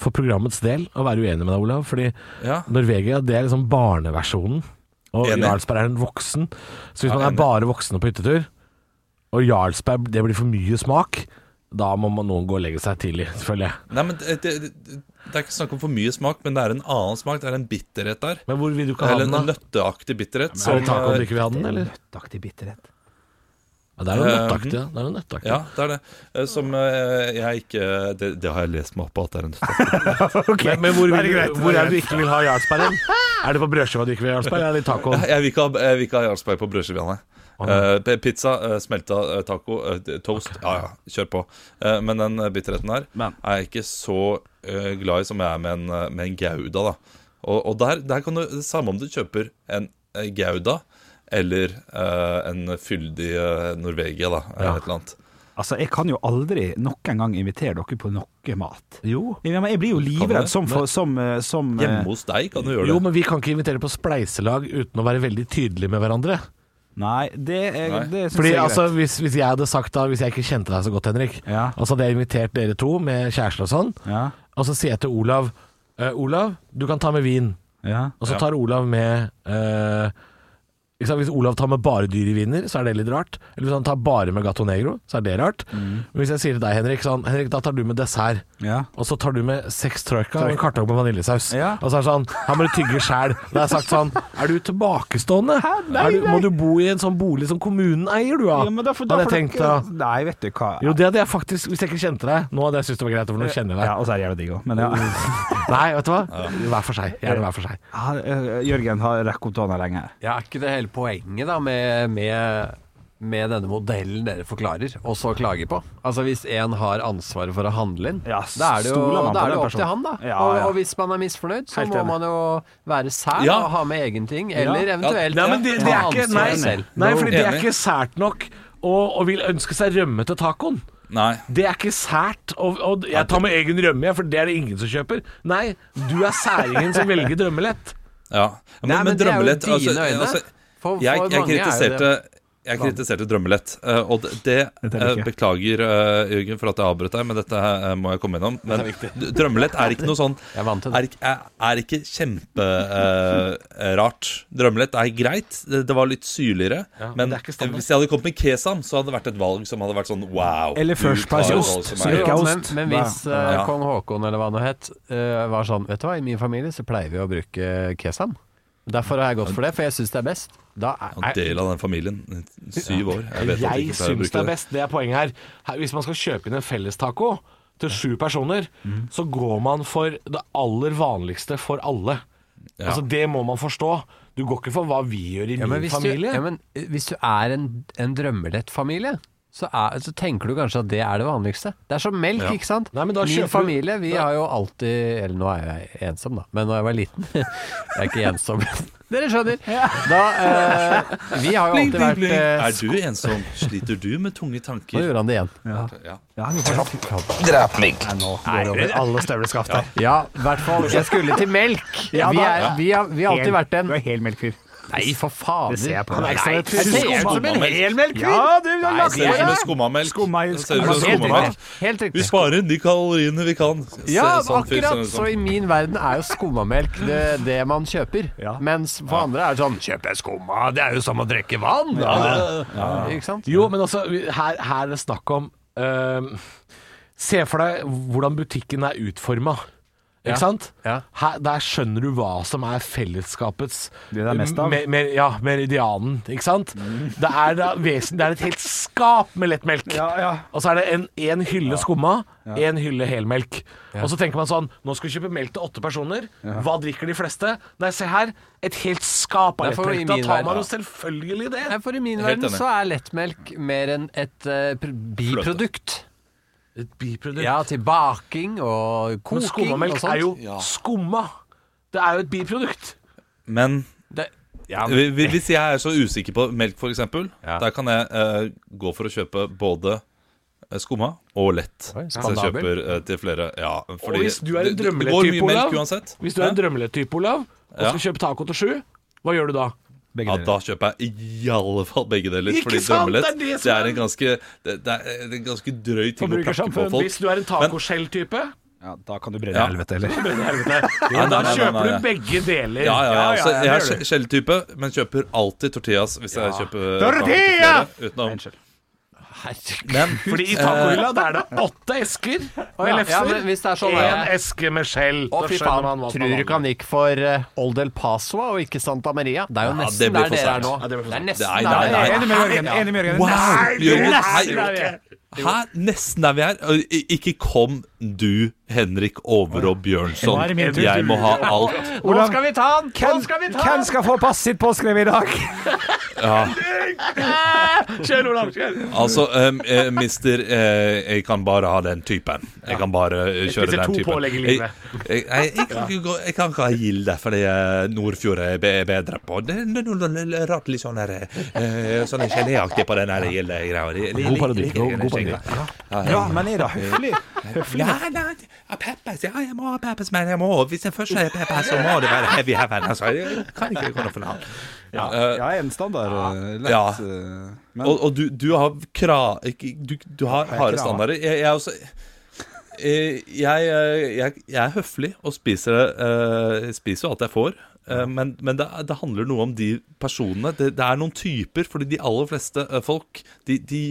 S3: for programmets del, å være uenig med deg, Olav. Fordi
S5: Ja.
S3: Norvegia det er liksom barneversjonen, og
S5: Enig.
S3: Jarlsberg er en voksen. Så hvis
S5: Ja,
S3: man er
S5: enig.
S3: bare voksne på hyttetur, og Jarlsberg det blir for mye smak, da må man noen gå og legge seg tidlig, selvfølgelig.
S5: Nei, men det, det, det, det er ikke snakk om for mye smak, men det er en annen smak. Det er en bitterhet der.
S3: Men hvor vil du ikke ha
S5: Eller
S3: den,
S5: en
S3: da?
S5: nøtteaktig bitterhet.
S3: Er det
S5: som,
S3: tacoen
S5: eh,
S3: du ikke vil ha den, eller?
S4: Nøttaktig bitterhet.
S3: Ja, det er jo nøtteaktig.
S5: nøtteaktig,
S3: ja. Det er jo nøtteaktig.
S5: Ehm. Ja, det er det. Eh, Som eh, jeg ikke Det, det har jeg lest meg opp på at det er en tøff
S3: Men, men hvor,
S4: det er
S3: vil,
S4: greit,
S3: du- hvor er det du ikke vil ha jarlsbergen? Er det på brødskiva du ikke vil ha jarlsberg, eller i tacoen?
S5: Jeg vil ikke ha, jeg vil ikke ha Jarlsberg på brødskiva, nei. Eh, p- pizza, eh, smelta eh, taco, eh, toast. Ja ja, kjør på. Eh, men den eh, bitterheten der
S4: Men.
S5: er jeg ikke så eh, glad i som jeg er med en, eh, med en Gouda, da. Og, og der, der kan du Samme om du kjøper en eh, Gouda eller eh, en fyldig eh, Norvegia, da, eller et eller annet.
S4: Altså, jeg kan jo aldri nok en gang invitere dere på noe mat.
S3: Jo.
S4: Ja, men Jeg blir jo
S5: Kan
S4: livredd
S5: du?
S4: som, for, som, eh, som eh,
S5: Hjemme hos deg kan du gjøre det.
S3: Jo, men vi kan ikke invitere på spleiselag uten å være veldig tydelige med hverandre.
S4: eh, Nei, det, er,
S5: Nei.
S4: det syns
S3: Fordi
S4: jeg er greit.
S3: altså, hvis, hvis jeg hadde sagt da, hvis jeg ikke kjente deg så godt, Henrik,
S4: Ja.
S3: og så hadde jeg invitert dere to med kjæresten og sånn,
S4: ja,
S3: og så sier jeg til Olav «Eh, Olav, du kan ta med vin.
S4: ja.
S3: Og så tar Olav med eh, ikke sant, Hvis Olav tar med bare dyre viner, så er det litt rart. Eller hvis han tar bare med Gato Negro, så er det rart.
S4: Mm.
S3: Men hvis jeg sier til deg, Henrik, sånn Henrik, da tar du med dessert.
S4: ja.
S3: Og så tar du med seks troika og en kartong med vaniljesaus.
S4: Ja.
S3: Og så er det sånn Her må du tygge sjæl. Da har jeg sagt sånn Er du tilbakestående?
S4: Nei,
S3: er du,
S4: nei.
S3: må du bo i en sånn bolig som kommunen eier, du, da?
S4: Ja, men da får- da
S3: hadde jeg
S4: får
S3: tenkt da.
S4: dere- Nei, vet du hva.
S3: Jo, det hadde jeg faktisk Hvis jeg ikke kjente deg Nå hadde jeg syntes det var greit, for nå kjenner jeg deg.
S4: Ja, og så er det jævla digg òg, men ja.
S3: Nei, vet du hva? Hver for seg. Gjerne hver for seg.
S4: Ja, eh, Jørgen har rekk opp hånda lenge her.
S6: Ja, er ikke det hele poenget da med, med, med denne modellen dere forklarer, og så klager på? Altså hvis en har ansvaret for å handle inn,
S4: Ja,
S6: da er det jo,
S4: stoler man på
S6: da er det
S4: den
S6: jo opp til han
S4: personen.
S6: da.
S4: Ja,
S6: og,
S4: ja.
S6: og hvis man er misfornøyd, så
S4: Helt
S6: må
S4: enig.
S6: man jo være sær
S5: Ja.
S6: og ha med egen ting, eller
S5: Ja.
S6: eventuelt
S5: Ja,
S3: men det, det
S6: ta
S3: er ikke Nei,
S6: ansvaret selv.
S3: nei fordi det er
S5: Enig.
S3: ikke sært nok å å vil ønske seg rømme til tacoen.
S5: Nei.
S3: Det er ikke sært. Og, og jeg tar med egen rømme, jeg, for det er det ingen som kjøper. Nei, du er særingen som velger drømmelett.
S5: Ja. Men, altså,
S6: Nei, men det er jo
S5: drømmelett
S6: dine øyne. For- for
S5: jeg, jeg
S6: mange er jo
S5: kritiserte jeg kritiserte drømmelett, eh, og det, det
S4: er det
S5: eh,
S4: ikke.
S5: beklager eh, Jørgen for at jeg avbrøt deg, men dette eh, må jeg komme innom. Men d- drømmelett er ikke noe sånn
S6: Jeg er vant til det.
S5: Er, ikke- er, er ikke kjemperart. Eh, rart. drømmelett er greit, det, det var litt syrligere. men
S3: det er ikke standard.
S5: hvis jeg hadde kommet med kesam, så hadde det vært et valg som hadde vært sånn wow.
S4: Eller
S5: du
S4: first
S5: tar
S4: price
S5: et
S4: ost,
S5: valg som
S4: så
S5: er-
S4: det ikke er
S6: men,
S4: ost.
S6: men hvis
S4: Nei.
S6: eh,
S5: Ja.
S6: kong Haakon eller hva han nå het, eh, var sånn Vet du hva, i min familie så pleier vi å bruke kesam. Derfor har jeg gått for det, for jeg syns det er best. Da er,
S5: En del av den familien. Syv år. Jeg, vet at
S3: Jeg
S5: ikke skal
S3: syns
S5: bruke
S3: det er best, det er poenget her. her. Hvis man skal kjøpe inn en fellestaco til sju personer,
S6: Mm.
S3: så går man for det aller vanligste for alle.
S5: Ja.
S3: Altså Det må man forstå. Du går ikke for hva vi gjør i
S6: Ja, men
S3: min
S6: hvis Du,
S3: familie.
S6: ja, men eh, hvis du er en, en drømmelett familie, så, er, så tenker du kanskje at det er det vanligste. Det er som melk, ikke sant?
S3: Nei, men da kjøper
S6: Min
S3: du-
S6: familie, vi har jo alltid Eller nå er jeg ensom, da, men da jeg var liten Jeg er ikke ensom. Dere skjønner. Da, eh, vi har jo
S5: Bling,
S6: alltid
S5: bling,
S6: vært
S5: bling.
S6: eh,
S5: Er du ensom? Sliter du med tunge
S6: Nå
S5: tanker?
S6: gjorde han det igjen.
S1: Drep meg.
S4: Går over alle støvleskaft der.
S6: Ja, i hvert fall. Jeg skulle til melk.
S4: Ja,
S6: vi,
S4: da.
S6: er, vi, har, vi har alltid vært en
S4: Du er helmelkfyr.
S6: Nei, for fader.
S4: Det ser jeg på deg.
S6: Nei,
S4: Han er
S6: jeg
S4: ekstravert.
S6: ser ut som en helmelk.
S4: Ja, du har lagt
S5: Ser ut
S4: deg
S5: som en
S4: der.
S5: skummamelk.
S4: Skumma-
S5: Ser ut som en
S6: Helt
S5: skummamelk.
S6: riktig. Helt
S5: Vi
S6: riktig.
S5: sparer de kaloriene vi kan.
S6: Ja,
S5: Ser sånn fyr, ser
S6: akkurat. Så
S5: sånn.
S6: i min verden er jo skummamelk det, det man kjøper.
S4: Ja.
S6: Mens for andre er det sånn Kjøper jeg skumma? Det er jo som å drikke vann! da». Ikke sant?
S3: Jo, men altså, vi- her, her er det snakk om øhm, Se for deg hvordan butikken er utforma. Ikke
S6: Ja.
S3: sant?
S6: Ja.
S3: Her, der skjønner du hva som er fellesskapets
S4: Det det er mest av.
S3: Me- mer- ja, meridianen, ikke sant? Det, er da vesen, det er et helt skap med lettmelk.
S4: Ja, ja.
S3: Og så er det en, en hylle skumma, en hylle helmelk. Og så tenker man sånn Nå skal vi kjøpe melk til åtte personer. Hva drikker de fleste? Nei, se her. Et helt skap av
S6: Nei, for i
S3: lettmelk. Da
S6: min
S3: tar
S6: verden-
S3: man jo selvfølgelig det.
S6: Nei, for i min
S5: Helt
S6: verden
S5: enig.
S6: så er lettmelk mer enn et eh, pr- biprodukt.
S3: Et biprodukt.
S6: Ja, til baking og
S3: Men
S6: koking og
S3: skummamelk
S6: sånt.
S3: er jo skumma. Det er jo et biprodukt.
S5: Men
S6: det,
S5: hvi- hvi- hvis jeg er så usikker på melk, f.eks., eksempel der kan jeg eh, gå for å kjøpe både eh, skumma og lett.
S6: Oi,
S5: så jeg
S6: spandabel.
S5: kjøper eh, til flere. Ja, fordi
S3: hvis du er en
S5: det- Det går
S3: drømmelettype,
S5: mye melk
S3: Olav?
S5: uansett.
S3: Hvis du er en
S5: Hæ?
S3: drømmelettype, Olav, og
S5: Ja.
S3: skal kjøpe taco til sju, hva gjør du da?
S4: Begge
S5: Ja,
S4: deler.
S5: da kjøper jeg i alle fall begge deler.
S3: Ikke
S5: fordi
S3: sant?
S5: drømmelett
S3: Det er det
S5: det
S3: som
S5: er
S3: er-
S5: en ganske Det, det er en ganske drøy ting å plakke på
S3: Forbrukersamfunn.
S5: folk.
S3: Hvis du er en tacoskjell-type,
S4: Ja, da kan du brenne i
S5: Ja.
S4: helvete, eller?
S5: Nei, nei,
S3: da
S5: nei, nei,
S3: kjøper
S5: nei.
S3: du begge deler.
S5: Ja, ja, ja. Så jeg
S3: det gjør
S5: er skjelltype, men kjøper alltid tortillas hvis jeg kjøper
S4: Tortilla!
S5: damer til flere, utenom.
S4: Unnskyld.
S5: Men
S3: du. Fordi i tacohylla der er det åtte esker med
S6: ja, ja,
S3: lefser.
S6: men hvis det er sånn,
S3: Én
S6: ja.
S3: eske med skjell.
S6: Å,
S3: Da
S6: fy
S3: skjønner
S6: faen.
S3: man hva som
S6: Tror du
S3: er
S6: ikke han
S3: vanlig.
S6: gikk for eh, Old El Paso og ikke Santa Maria? Det er jo
S5: Ja, det
S6: nesten
S5: blir
S6: der
S5: for
S6: dere er nå.
S5: sært.
S3: Ja, det blir for
S6: er
S3: sært.
S6: nesten
S5: Nei,
S6: der
S5: nei,
S6: dere er.
S5: nei.
S4: Enig med Jørgen. Enig med Jørgen.
S5: Wow!
S4: Nesten.
S5: Jørgen,
S3: nesten
S5: hei.
S3: der
S5: Hæ? Nesten der vi er? I- Ikke kom du, Henrik Overå
S4: Nå er
S5: Bjørnson.
S4: det min tur.
S5: Jeg må ha alt.
S6: Nå
S4: Olav,
S6: skal vi ta han! Nå skal vi ta
S4: Hvem
S6: han!
S4: skal få passet sitt påskrevet i dag?
S3: Kjør, Olav, kjør.
S5: Altså, um, eh, mister eh, Jeg kan bare ha den typen. Jeg kan bare eh, kjøre
S3: spiser
S5: den
S3: to
S5: typen.
S3: pålegg i livet.
S5: Jeg, jeg, jeg, jeg, kan ikke gå, jeg kan ikke ha gilde fordi eh, Nordfjord er be- er bedre på. Det, det er noe l- l- rart litt sånn her eh, Sånn geléaktig på den her gilde-greia.
S3: God parodi, god- god parodi.
S4: Ja, men er det høflig? Høflig?
S5: Ja, nei, ja, peppers, ja, jeg må ha peppers, men jeg må Hvis jeg først har peppers, så må det være heavy heaven. Altså, jeg kan ikke gå noe for langt. Ja, eh,
S4: Ja, en standard eh, lett
S5: Ja.
S4: eh, Men
S5: Og, og du, du har kra... ikke- Du, du har
S4: jeg
S5: harde
S4: krava?
S5: standarder. Jeg, jeg er også eh, jeg, eh, jeg, jeg er høflig og spiser, eh, spiser jo alt jeg får. eh, Men, men det, det handler noe om de personene. Det, det er noen typer, fordi de aller fleste eh, folk De, de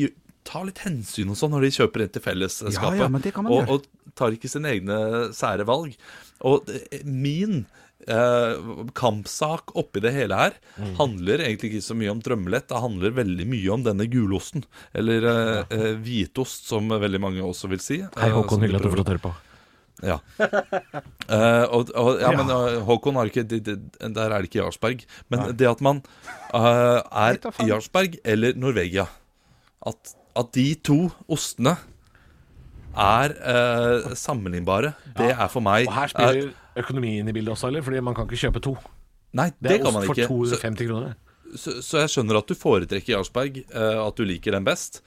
S5: tar litt hensyn og sånn når de kjøper inn til fellesskapet.
S4: Ja, ja, men det kan man
S5: og,
S4: gjøre.
S5: og tar ikke sine egne sære valg. Og det- min eh, kampsak oppi det hele her
S3: Mm.
S5: handler egentlig ikke så mye om drømmelett. Det handler veldig mye om denne gulosten, eller eh, eh, hvitost, som veldig mange også vil si.
S3: Hei,
S5: eh, som
S3: Håkon,
S5: de
S3: hyggelig at du
S5: prøver-
S3: får lov til å høre på.
S5: ja. Eh, og, og, ja, men eh, Håkon har ikke det, det, Der er det ikke Jarlsberg. Men det at man eh, er
S4: da faen.
S5: Jarlsberg eller Norvegia At, at de to ostene er eh, sammenlignbare, det er for meg
S3: Og her
S5: eh,
S3: spiller økonomien i bildet også, eller? Fordi man kan ikke kjøpe to.
S5: Nei,
S3: Det
S5: det,
S3: er
S5: kan man
S3: ost for
S5: ikke. Så,
S3: 250 kroner.
S5: så, så jeg skjønner at du foretrekker Jarlsberg, eh, at du liker den best.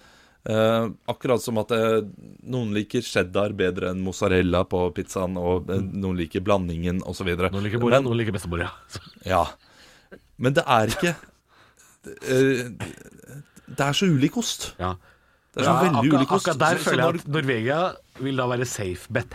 S5: Eh, akkurat som at eh, noen liker cheddar bedre enn mozzarella på pizzaen, og eh, noen liker blandingen osv.
S3: Mm. Noen liker bordet, noen liker bestebordet.
S5: Ja. Men det er ikke eh, Det er så ulik ost.
S3: Ja.
S5: Det er så veldig
S3: akkurat,
S5: ulik ost.
S3: akkurat der
S5: Så- så
S3: føler
S5: når-
S3: jeg at Norvegia vil da være safe bet.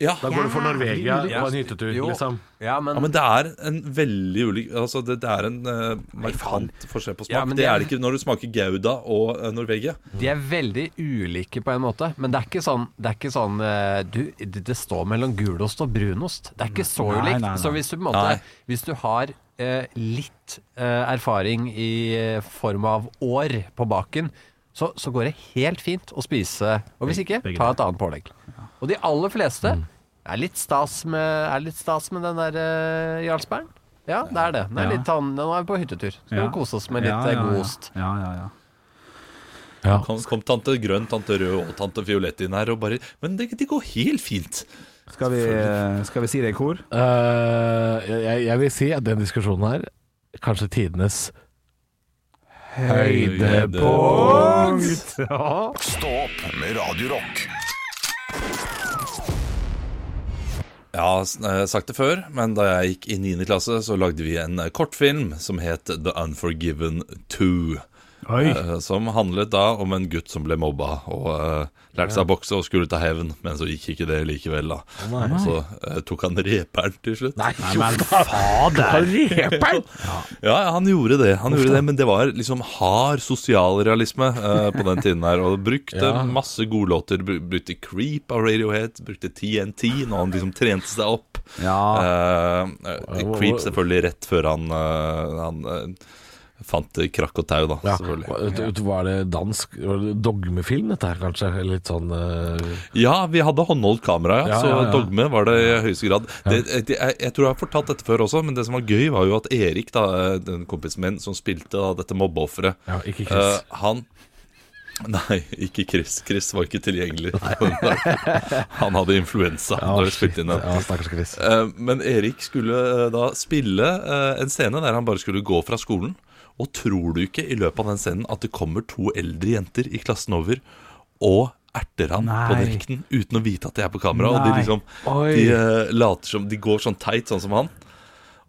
S5: ja.
S3: Da går du for Norvegia
S6: ulik
S3: og en hyttetur,
S6: Jo.
S3: liksom.
S6: Ja, men,
S5: ja, men det er en veldig ulik Altså, det, det er en eh, markant forskjell på smak.
S6: Ja, men
S5: det,
S6: det
S5: er
S6: er-
S5: det ikke når du smaker Gouda og eh, Norvegia.
S6: De er veldig ulike på en måte, men det er ikke sånn, det er ikke sånn eh, du, det det står mellom gulost og brunost. Det er ikke så
S4: Nei, nei,
S6: ulikt.
S4: nei.
S6: Så hvis du, på en
S5: Nei.
S6: måte, hvis du har eh, litt eh, erfaring i eh, form av år på baken, så, så går det helt fint å spise. Og hvis ikke, ta et annet pålegg. Og de aller fleste
S4: Mm.
S6: er litt stas med, er litt stas med den der eh, Jarlsbergen. Ja, det er det. Den er
S4: Ja.
S6: litt, sånn- nå er vi på hyttetur. Så
S4: Ja.
S6: vi kose oss med litt
S4: Ja, ja,
S6: eh,
S4: ja.
S6: god ost.
S4: Ja, ja, ja.
S5: Kom, kom tante Grønn, tante Rød og tante Fiolett inn her og bare Men det, det går helt fint.
S4: Skal vi, skal vi si det i kor?
S3: Eh, jeg, jeg vil si at den diskusjonen her Kanskje tidenes
S1: Stå opp med Radio Rock.
S5: Jeg har s- eh, sagt det før, men da jeg gikk i 9. klasse, så lagde vi en eh, kortfilm som het The Unforgiven 2.
S4: Oi.
S5: eh, som handlet da om en gutt som ble mobba og eh, lærte seg å bokse og skulle ta hevn, men så gikk ikke det likevel, da. Og så eh, tok han reperen til slutt.
S3: Nei,
S4: Nei,
S3: jo
S4: men
S3: faen!
S4: fader!
S3: Reperen!
S5: Ja, han gjorde det, han gjorde det men det var liksom hard sosialrealisme eh, på den tiden her. Og brukte
S3: Ja.
S5: masse godlåter. br- Brukte Creep av Radiohead, brukte TNT når han liksom trente seg opp.
S4: Ja.
S5: Eh, eh, Creep selvfølgelig rett før han, eh, han eh, fant krakk og tau, da.
S3: Ja.
S5: selvfølgelig.
S3: Var- Var det dansk var det dogmefilm, dette her, kanskje? Eller litt sånn eh,
S5: Ja, vi hadde håndholdt kamera, ja,
S3: Ja,
S5: så
S3: ja, ja.
S5: dogme var det i høyeste grad. Det, det, jeg, jeg tror jeg har fortalt dette før også, men det som var gøy, var jo at Erik, da, den kompisen min som spilte da, dette mobbeofferet
S3: Ja, ikke Chris.
S5: eh, Han Nei, ikke Chris. Chris var ikke tilgjengelig. han hadde influensa
S3: Ja,
S5: da vi
S3: shit.
S5: spilte inn den.
S3: Ja, stakkars Chris.
S5: Eh, Men Erik skulle eh, da spille eh, en scene der han bare skulle gå fra skolen. Og tror du ikke i løpet av den scenen at det kommer to eldre jenter i klassen over og erter han på
S4: Nei.
S5: direkten uten å vite at de er på kamera? Og de
S4: Nei.
S5: liksom
S3: Oi.
S5: de, eh, later som De går sånn teit, sånn som han.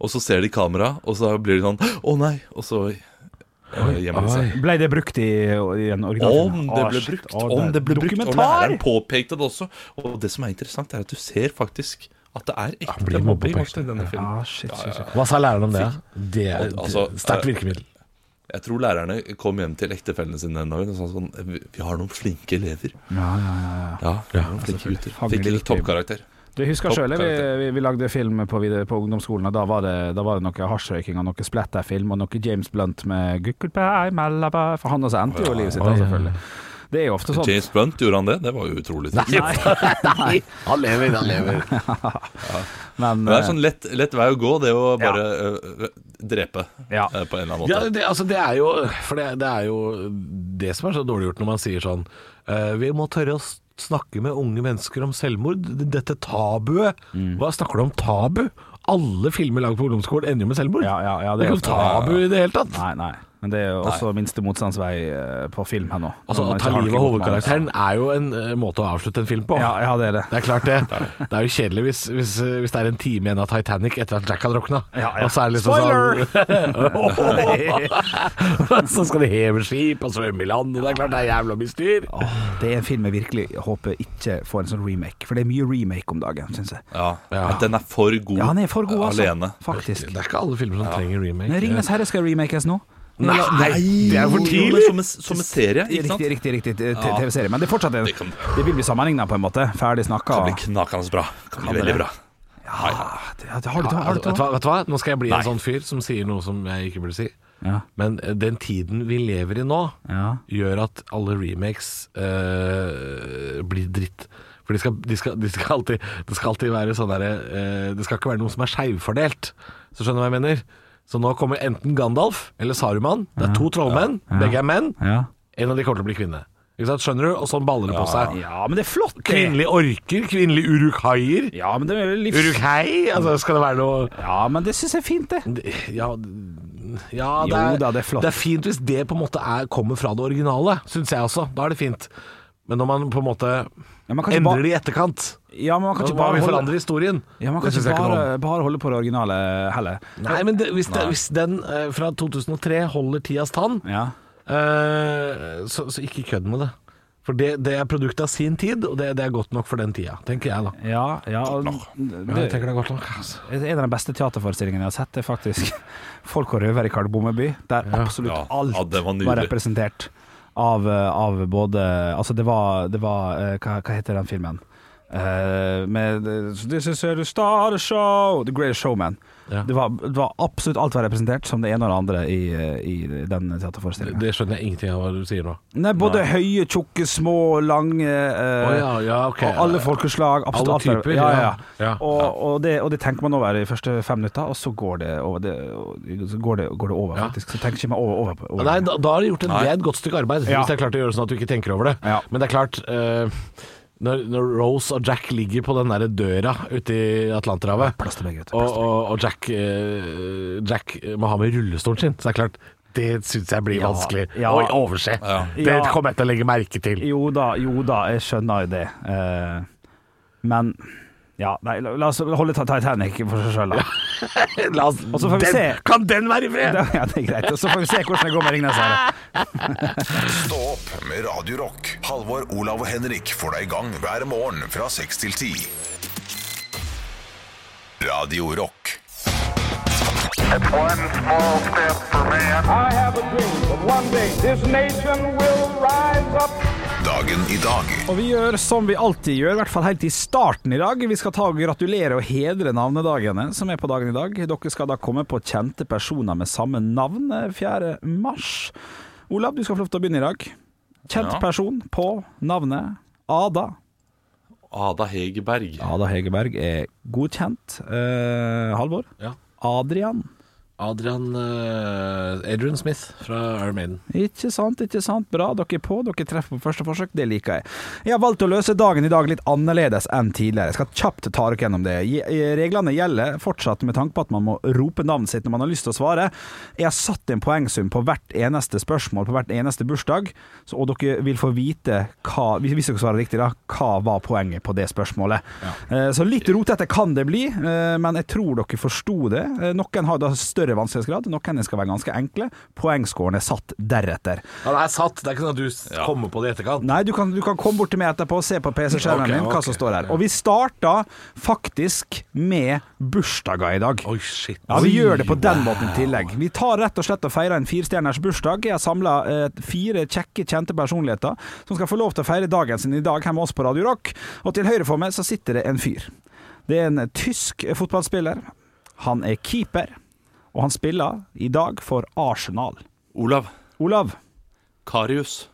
S5: Og så ser de kamera, og så blir de sånn Å nei! Og så eh, gjemmer de seg.
S3: Oi.
S4: Ble det brukt i, i en
S5: Om
S4: originalfilm?
S5: det
S4: Å, Ah,
S5: ble
S4: shit.
S5: brukt,
S4: Å,
S5: om
S4: det
S5: det
S4: er
S5: ble brukt Og
S4: Dokumentar!
S5: læreren påpekte det også. Og det som er interessant, er at du ser faktisk at det er
S3: blir
S5: ekte mobbing
S3: mobbepekt.
S5: også i denne filmen.
S4: Ah, shit, shit, shit.
S3: Hva sa læreren om det? Det er
S5: Og- altså,
S3: det- sterkt
S5: eh,
S3: virkemiddel.
S5: Jeg tror lærerne kom hjem til ektefellene sine den dagen og sa sånn Vi vi har noen flinke elever.
S4: Ja, ja, ja, ja.
S5: Ja, vi har noen flinke gutter.
S4: Fanger
S5: Fikk litt
S4: riktig.
S5: toppkarakter.
S4: Du husker
S5: Topp
S4: sjøl, vi,
S5: karakter.
S4: vi, vi lagde film på, vide- på ungdomsskolen, og da var det, da var det noe hasjrøyking og noe splatterfilm og noe James Blunt med Gukkelpei, Mellaba For han også endte jo livet sitt, da, selvfølgelig. Det er jo ofte sånn.
S5: James Blunt, gjorde han det? Det var jo utrolig.
S4: Nei, nei.
S3: Han lever, han lever.
S4: Men
S5: Men det er
S4: eh,
S5: sånn lett, lett vei å gå, det å
S4: Ja.
S5: bare øh, drepe
S4: Ja.
S5: øh, på en eller annen
S3: Ja,
S5: måte.
S3: det, altså, det er jo For det, det er jo det som er så dårlig gjort når man sier sånn eh, Vi må tørre å s- snakke med unge mennesker om selvmord. Dette tabuet.
S4: Mm.
S3: Hva snakker du om tabu? Alle filmer lagd på ungdomsskolen ender jo med selvmord.
S4: Ja, ja, ja,
S3: det, er
S4: det
S3: ikke
S4: er
S3: noe tabu i det hele tatt.
S4: Nei, nei. Men det er jo også minste motstands vei eh, på film her nå.
S3: Altså,
S4: Når man
S3: Å ta
S4: ikke har
S3: livet av
S4: noe
S3: hovedkarakteren er jo en eh, måte å avslutte en film på.
S4: altså. Ja, ja, det er det.
S3: Det er klart det. Det er jo kjedelig hvis, hvis, hvis det er en time igjen av Titanic etter at Jack har drukna.
S4: Ja, ja.
S3: Og så er det liksom sånn Så skal de heve skip og svømme i land, og det er klart det er jævla mye styr.
S4: Åh, det er en film jeg virkelig håper ikke får en sånn remake, for det er mye remake om dagen, syns jeg.
S5: Ja.
S3: Ja.
S5: Men den er for god,
S4: Ja, han er for god, altså.
S5: alene.
S4: Faktisk.
S3: Det er ikke alle filmer som trenger remake.
S4: Men Ringenes herre skal remakes nå.
S3: Nei, det er for
S5: Jo, men
S3: tidlig!
S5: Som en, som en serie, ikke sant?
S4: Riktig, riktig, riktig t- TV-serie. Men det er fortsatt en,
S5: Det kan-
S4: det vil bli sammenligna på en måte. Ferdig snakka.
S5: Kan bli knakende bra. Kan bli
S4: det
S5: veldig
S4: det?
S5: bra.
S4: Ja, Ah, det- har du har du- har
S5: altså,
S3: Vet
S4: du-
S3: du hva, vet du hva? Nå skal jeg bli en sånn fyr som sier noe som jeg ikke burde si.
S4: Ja.
S3: Men eh, den tiden vi lever i nå,
S4: Ja.
S3: gjør at alle remakes eh, blir dritt. For de skal, de skal, de skal alltid, det skal alltid være sånn derre eh, Det skal ikke være noe som er skeivfordelt. Så skjønner du hva jeg mener? Så nå kommer enten Gandalf eller Saruman. Det er to trollmenn, begge er menn.
S4: Ja.
S3: En av de kommer til å bli kvinne. Ikke sant? Skjønner du? Og sånn baller det på seg.
S4: ja, men det er flott, det!
S3: Kvinnelige orker, kvinnelige urukhaier.
S4: Ja, men det er jo livs...
S3: Urukhei? Altså, skal det være noe
S4: Ja, men det syns jeg er fint, det.
S3: ja, ja det,
S4: Jo
S3: er,
S4: da, det er flott.
S3: fint hvis det på en måte er, kommer fra det originale, syns jeg også. Da er det fint. Men når man på en måte
S4: Ja, man kan ikke ba-
S3: endrer det i etterkant,
S4: Ja, men man kan
S3: da
S4: ikke
S3: må
S4: bare
S3: vi
S4: holde,
S3: forandre historien.
S4: ja, man kan
S3: Det
S4: ikke
S3: synes jeg ikke noe om.
S4: bare, bare holde på det originale heller.
S3: Nei, men det, hvis, det, hvis den eh, fra 2003 holder tidas tann,
S4: Ja.
S3: eh, så, så ikke kødd med det. For det, det er produktet av sin tid, og det, det er godt nok for den tida, tenker jeg da.
S4: Ja, ja og
S3: jeg
S4: det,
S3: tenker det er godt nok, altså.
S4: En av de beste teaterforestillingene jeg har sett, det er faktisk 'Folk og røvere i Kardemommeby', der absolutt
S5: Ja,
S4: alt
S5: ja, det var nydelig.
S4: var representert av, eh, av både Altså, det var, det var eh, hva, hva heter den filmen? Eh, med eh, 'This is a star the show', 'The Greatest Showman'.
S3: Ja.
S4: Det, var, det var absolutt alt var representert som det ene og det andre i, eh, i den teaterforestillingen.
S3: Det skjønner jeg ingenting av hva du sier nå.
S4: Nei, både høye, tjukke, små, lange
S3: Å
S4: eh,
S3: ja, ja, ok.
S4: Og alle folkeslag. Absolutt
S3: Alle
S4: alt der.
S3: typer,
S4: Ja, ja.
S3: ja.
S4: ja.
S3: Ja.
S4: Og, og, det, og det tenker man over i de første fem minutter, og så går det over. Det, og så går det, går det over,
S3: Ja.
S4: faktisk. Så tenker ikke meg over, over, på- over.
S3: Nei, da, da har du gjort en,
S5: Nei.
S3: det er et godt stykke arbeid,
S4: Ja.
S3: hvis det er klart å gjøre det sånn at du ikke tenker over det.
S4: Ja.
S3: Men det er klart eh, når, når Rose og Jack ligger på den der døra ute i Atlanterhavet,
S4: Plass til begge, vet du.
S3: og, og, og Jack, eh, Jack må ha med rullestolen sin, så det er klart det syns jeg blir
S4: Ja.
S3: vanskelig
S4: Ja.
S3: å overse.
S5: Ja.
S3: Det
S4: Ja.
S3: kommer jeg til å legge merke til.
S4: Jo da, jo da, jeg skjønner jo det. Eh, men ja, nei, la, la oss holde Titanic for seg sjøl, da.
S3: La oss,
S4: Og så får vi
S3: den,
S4: se.
S3: Kan den være i fred?
S4: Ja, det er greit. Og så får vi se hvordan det går med Ringnes her. da.
S1: Stå opp med Radio Rock. Halvor, Olav og Henrik får deg i gang hver morgen fra 6 til 10. Radio Rock.
S8: One small step for man. I have a dream that one day this nation will rise up.
S1: Dagen i dag.
S4: Og vi gjør som vi alltid gjør, i hvert fall helt i starten i dag. Vi skal ta og gratulere og hedre navnedagene som er på dagen i dag. Dere skal da komme på kjente personer med samme navn eh, 4. mars. Olav, du skal få lov til å begynne i dag. Kjent
S5: Ja.
S4: person på navnet Ada.
S5: Ada Hegerberg.
S4: Ada Hegerberg er godkjent. Eh, Halvor?
S3: Ja.
S4: Adrian.
S3: Adrian eh, Adrian Smith fra Iron Maiden.
S4: Ikke sant, ikke sant. Bra, dere er på. Dere treffer på første forsøk. Det liker jeg. Jeg har valgt å løse dagen i dag litt annerledes enn tidligere. Jeg skal kjapt ta dere gjennom det. Je- eh, Reglene gjelder fortsatt med tanke på at man må rope navnet sitt når man har lyst til å svare. Jeg har satt en poengsum på hvert eneste spørsmål på hvert eneste bursdag, så, og dere vil få vite hva, hvis hvis dere svarer riktig, da, hva var poenget på det spørsmålet. Eh, Så litt rotete kan det bli, eh, men jeg tror dere forsto det. Eh, Noen har da større vanskelighetsgrad, noen skal være ganske enkle. Poengscoren er satt deretter.
S3: Han er satt, det er ikke sånn at du s- kommer på det i etterkant.
S4: Nei, du kan, du kan komme bort til meg etterpå og se på PC-skjermen
S3: Ok,
S4: min hva
S3: ok.
S4: som står her. Og vi starta faktisk med bursdager i dag.
S3: Oi, shit.
S4: Ja, Vi
S3: Oi,
S4: gjør det på den måten i tillegg. Vi tar rett og slett og feirer en firestjerners bursdag. Jeg har samla eh, fire kjekke, kjente personligheter som skal få lov til å feire dagen sin i dag her med oss på Radio Rock. Og til høyre for meg så sitter det en fyr. Det er en tysk fotballspiller. Han er keeper, og han spiller i dag for Arsenal.
S5: Olav
S4: Olav,
S5: Karius.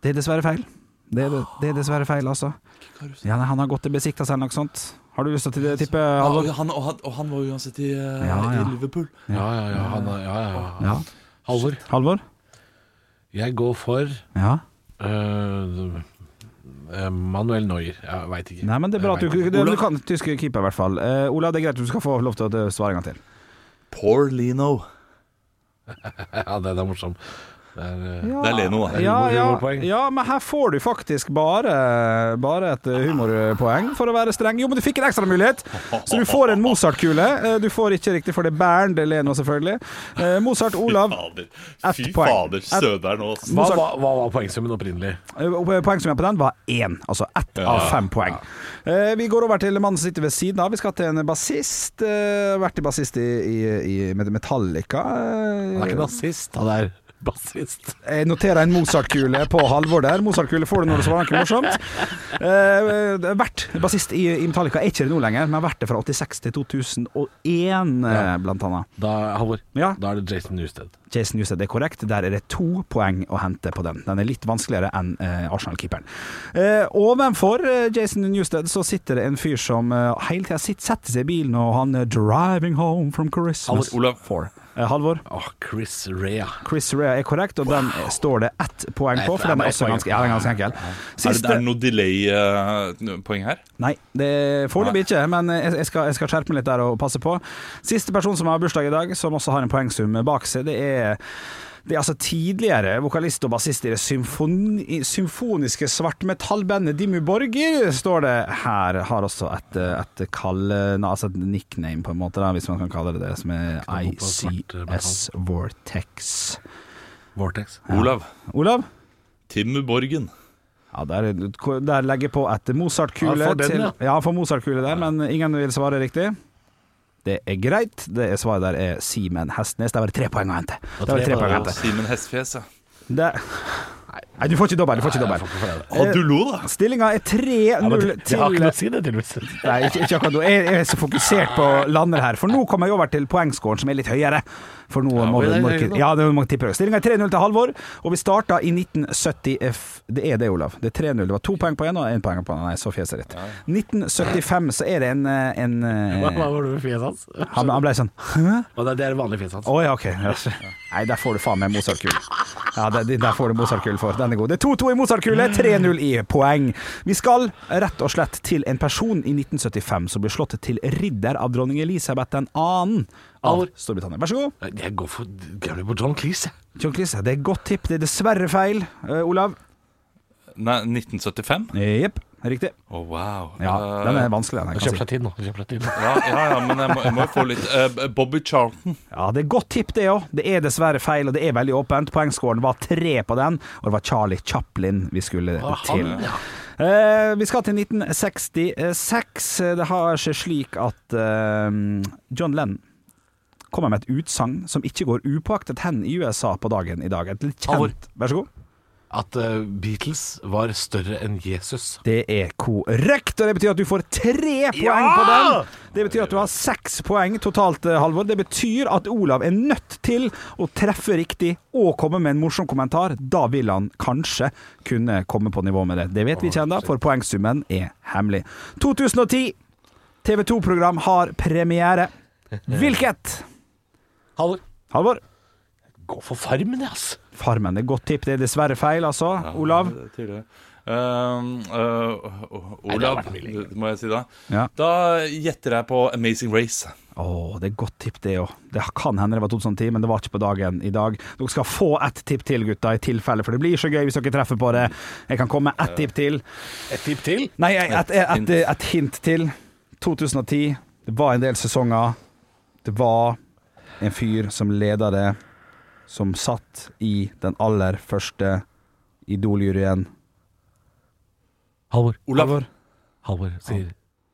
S4: det er dessverre feil. Det er, det er dessverre feil, altså.
S5: Karius.
S4: Ja, nei, han har gått til Besiktas eller noe sånt. Har du lyst til å tippe,
S5: Ja,
S4: Halvor?
S5: og, han, og, han, og han var jo uansett i, eh,
S4: Ja, ja.
S5: i Liverpool.
S3: Ja, ja, ja. Han er, ja, ja, ja.
S4: Ja.
S3: Halvor,
S4: Halvor?
S3: jeg går for
S4: Ja.
S3: eh, Manuel Neuer. Jeg veit ikke.
S4: Nei, men det er bra at
S3: Jeg
S5: Eh,
S4: du,
S3: vet
S4: du,
S3: ikke.
S4: du kan tysk keeper, i hvert fall. Eh, Olav, det er greit, du skal få lov til å svare en gang til.
S5: Poor Lino.
S3: Ja, den er morsom. Det er, eh,
S5: Det er Leno, da.
S4: Ja,
S3: Humor-
S4: ja,
S3: humorpoeng.
S4: ja, men her får du faktisk bare, bare et eh, humorpoeng, for å være streng. Jo, men du fikk en ekstramulighet, så du får en Mozart-kule. Eh, Du får ikke riktig, for det er Bernd Leno, selvfølgelig. Eh, Mozart, Olav.
S5: Fader.
S4: Ett
S5: Fy
S4: poeng.
S5: fader,
S4: Ett-
S5: Søderen nå, ass.
S3: hva,
S4: Mozart-
S3: hva, hva var poengsummen opprinnelig?
S4: Eh, Poengsummen på den var én, altså ett av fem poeng. Eh, Vi går over til mannen som sitter ved siden av. Vi skal til en bassist. eh, Vært i bassist i, i, i med- Metallica.
S3: Han er ikke
S4: Eh,
S3: nazist, han er bassist.
S4: Jeg noterer en Mozart-kule på Halvor der. Mozart-kule får du når du svarer noe morsomt. Eh, eh, Vært bassist i, i Metallica, er ikke det nå lenger, men har vært det fra 86 til 2001, eh, blant annet.
S3: Da, Halvor,
S4: Ja.
S3: da er det Jason Newsted.
S4: Jason Newsted er korrekt. Der er det to poeng å hente på den. Den er litt vanskeligere enn eh, Arsenal-keeperen. Eh, ovenfor eh, Jason Newsted så sitter det en fyr som eh, hele tida sitter- setter seg i bilen og han er 'driving home from Christmas'.
S5: Olav.
S4: Four. Eh, Halvor.
S3: Åh, Chris Rea.
S4: Chris Rea er korrekt, og den står det ett poeng på,
S3: Ett-
S4: for den er
S3: ett
S4: også
S3: poeng.
S4: ganske, ja, den er ganske enkel.
S5: Er det,
S4: Siste-
S5: er det noe delay-poeng her?
S4: Nei, det er foreløpig ikke, men jeg, jeg, skal, jeg skal skjerpe meg litt der og passe på. Siste person som har bursdag i dag, som også har en poengsum bak seg, det er, det er altså tidligere vokalist og bassist i det symfoni, symfoniske svartmetallbandet Dimmu Borgir, står det her. Har også et, et kallenavn, altså et nickname, på en måte, da, hvis man kan kalle det det, som er
S3: noe på
S4: ICS Vortex.
S3: Vortex.
S5: Olav.
S4: Olav?
S5: Timmy Borgen.
S4: Ja, der, der legger jeg på et Mozart-kule.
S3: Ja, for den,
S4: til-
S3: ja.
S4: ja, for Mozart-kule der, men ingen vil svare riktig. Det er greit. Det er svaret der er Simen Hestnes. Der var det tre poeng å hente. Der var det tre
S3: tre
S4: poeng å
S3: poeng,
S4: hente.
S5: Simen Hestfjes, ja.
S4: Det- Nei, du får ikke dobbel. Du får ikke dobbel.
S5: Å, du lo, da!
S4: Stillinga er 3-0
S3: Jeg har ikke noe å
S4: til
S3: si det, tydeligvis.
S4: Nei, ikke, ikke akkurat nå. Jeg, jeg er så fokusert på å lande her, for nå kommer jeg over til poengscoren, som er litt høyere. For nå må
S3: men
S4: du
S3: det er
S4: må,
S3: høyere nå.
S4: ja, det må tippe høyere. Stillinga er 3-0 til Halvor, og vi starta i 1970 Det er det, Olav. Det er 3-0. Det var to poeng på én og én poeng på den. Nei, så fjeset ditt. 1975 så er det en, eh, en eh,
S3: Hva hva var det med fjeset hans?
S4: han, han ble sånn Hæ?
S3: Og det, det er vanlig fjeset hans.
S4: Å ja, OK. Ja. Nei, der får du faen meg Mozart-kul. Ja, der, der får du Mozart-kul for. Den er god. Det er 2-2 i Mozart-kule, 3-0 i poeng. Vi skal rett og slett til en person i 1975 som ble slått til ridder av dronning Elisabeth 2. av
S3: Alvor.
S4: Storbritannia. Vær så god.
S3: Jeg går for jeg blir på John Cleese, jeg.
S4: John Cleese, det er godt tipp. Det er dessverre feil. Eh, Olav?
S5: Nei, 1975?
S4: Jepp. Riktig.
S5: Å, wow.
S4: Ja,
S5: Eh,
S4: den er vanskelig, den. her,
S3: Kjøp
S4: Kan
S3: deg tid nå. Kjøp deg tid nå.
S5: ja, ja, ja, men jeg må, jeg må jo få litt eh, Bobby Charlton.
S4: jeg si. ja, det er godt tipp, det òg. Det er dessverre feil, og det er veldig åpent. Poengskåren var tre på den, og det var Charlie Chaplin vi skulle til. Eh, vi skal til 1966. Det har seg slik at eh, John Lennon kommer med et utsagn som ikke går upåaktet hen i USA på dagen i dag. Et litt
S3: Halvor.
S4: kjent Vær så god.
S3: At eh, Beatles var større enn Jesus.
S4: Det er korrekt, og det betyr at du får tre poeng på den. Det betyr at du har seks poeng totalt, eh, Halvor. Det betyr at Olav er nødt til å treffe riktig og komme med en morsom kommentar. Da vil han kanskje kunne komme på nivå med det. Det vet vi ikke ennå, for poengsummen er hemmelig. 2010. TV 2-program har premiere. Hvilket?
S3: Halvor.
S4: Halvor?
S3: Gå for Farmen, jeg, ass.
S4: Farmen det er godt tipp. Det er dessverre feil, altså. Olav?
S5: Ja, det er tidligere. Um, eh, Olav, må jeg si da.
S4: Ja.
S5: Da gjetter jeg på Amazing Race.
S4: Å, det er godt tipp det òg. Det kan hende det var 2010, men det var ikke på dagen i dag. Dere skal få ett tipp til, gutta, i tilfelle, for det blir så gøy hvis dere treffer på det. Jeg kan komme med ett tipp til.
S3: Et tipp til.
S4: Nei, et, et, et, et hint til. 2010. Det var en del sesonger. Det var en fyr som leda det, som satt i den aller første Idol-juryen.
S3: Halvor.
S5: Olav.
S3: Halvor sier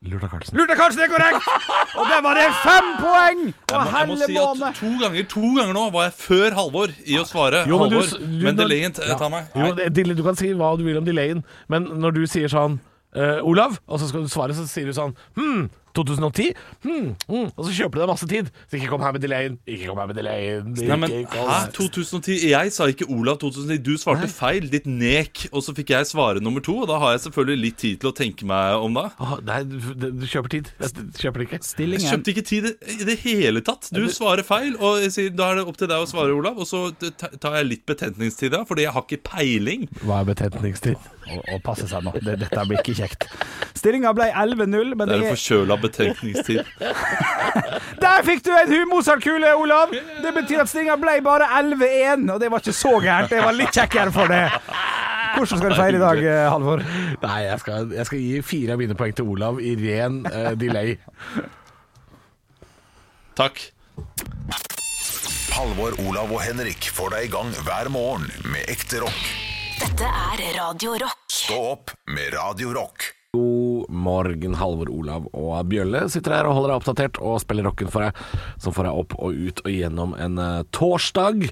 S3: Lurta Karlsen.
S4: Lurte kanskje det er korrekt! Og der var det fem poeng!
S5: Ja,
S4: Og
S5: men jeg må
S4: helle
S5: si
S4: måne!
S5: at to ganger, to ganger nå var jeg før Halvor i å svare
S3: Jo, men du-
S5: Halvor.
S3: du-
S5: men
S3: da-
S5: Delayen eh, tar meg.
S3: Jo, det- Dille, du kan si hva du vil om delayen, men når du sier sånn eh, Olav, og så skal du svare, så sier du sånn Hm, 2010? Hm, hm, og så kjøper du deg masse tid. Så ikke kom her med delayen. Ikke kom her med delayen. Ikke
S5: Nei, men
S3: kom-
S5: hæ? 2010? Jeg sa ikke Olav 2010. Du svarte feil, ditt nek. Og så fikk jeg svare nummer to, og da har jeg selvfølgelig litt tid til å tenke meg om det.
S3: Åh, nei, du, du du kjøper tid. Jeg kjøper Ah, det ikke.
S5: Jeg
S4: Stillingen
S5: kjøpte ikke tid i det hele tatt. Du svarer feil, og jeg sier, da er det opp til deg å svare, Olav. Og så t- tar jeg litt betentningstid, da, fordi jeg har ikke peiling.
S3: Hva er betentningstid?
S4: å, å passe seg nå. Det, dette blir ikke kjekt. Stillinga ble 11-0, men
S5: Det
S4: det
S5: er en
S4: er,
S5: forkjøla betentningstid.
S4: der fikk du en hu- Mozart-kule, Olav! Det betyr at stillinga ble bare 11-1, og det var ikke så gærent. Det var litt kjekkere for det. Hvordan skal du feire i dag, eh, Halvor?
S3: Nei, jeg skal, jeg skal gi fire av mine poeng til Olav i ren eh, delay.
S5: Takk.
S1: Halvor, Olav og Henrik får deg i gang hver morgen med ekte rock.
S2: Dette er Radio Rock.
S1: Stå opp med Radio Rock.
S3: God morgen, Halvor, Olav og Bjølle sitter her og holder deg oppdatert og spiller rocken for deg, som får deg opp og ut og gjennom en eh, torsdag.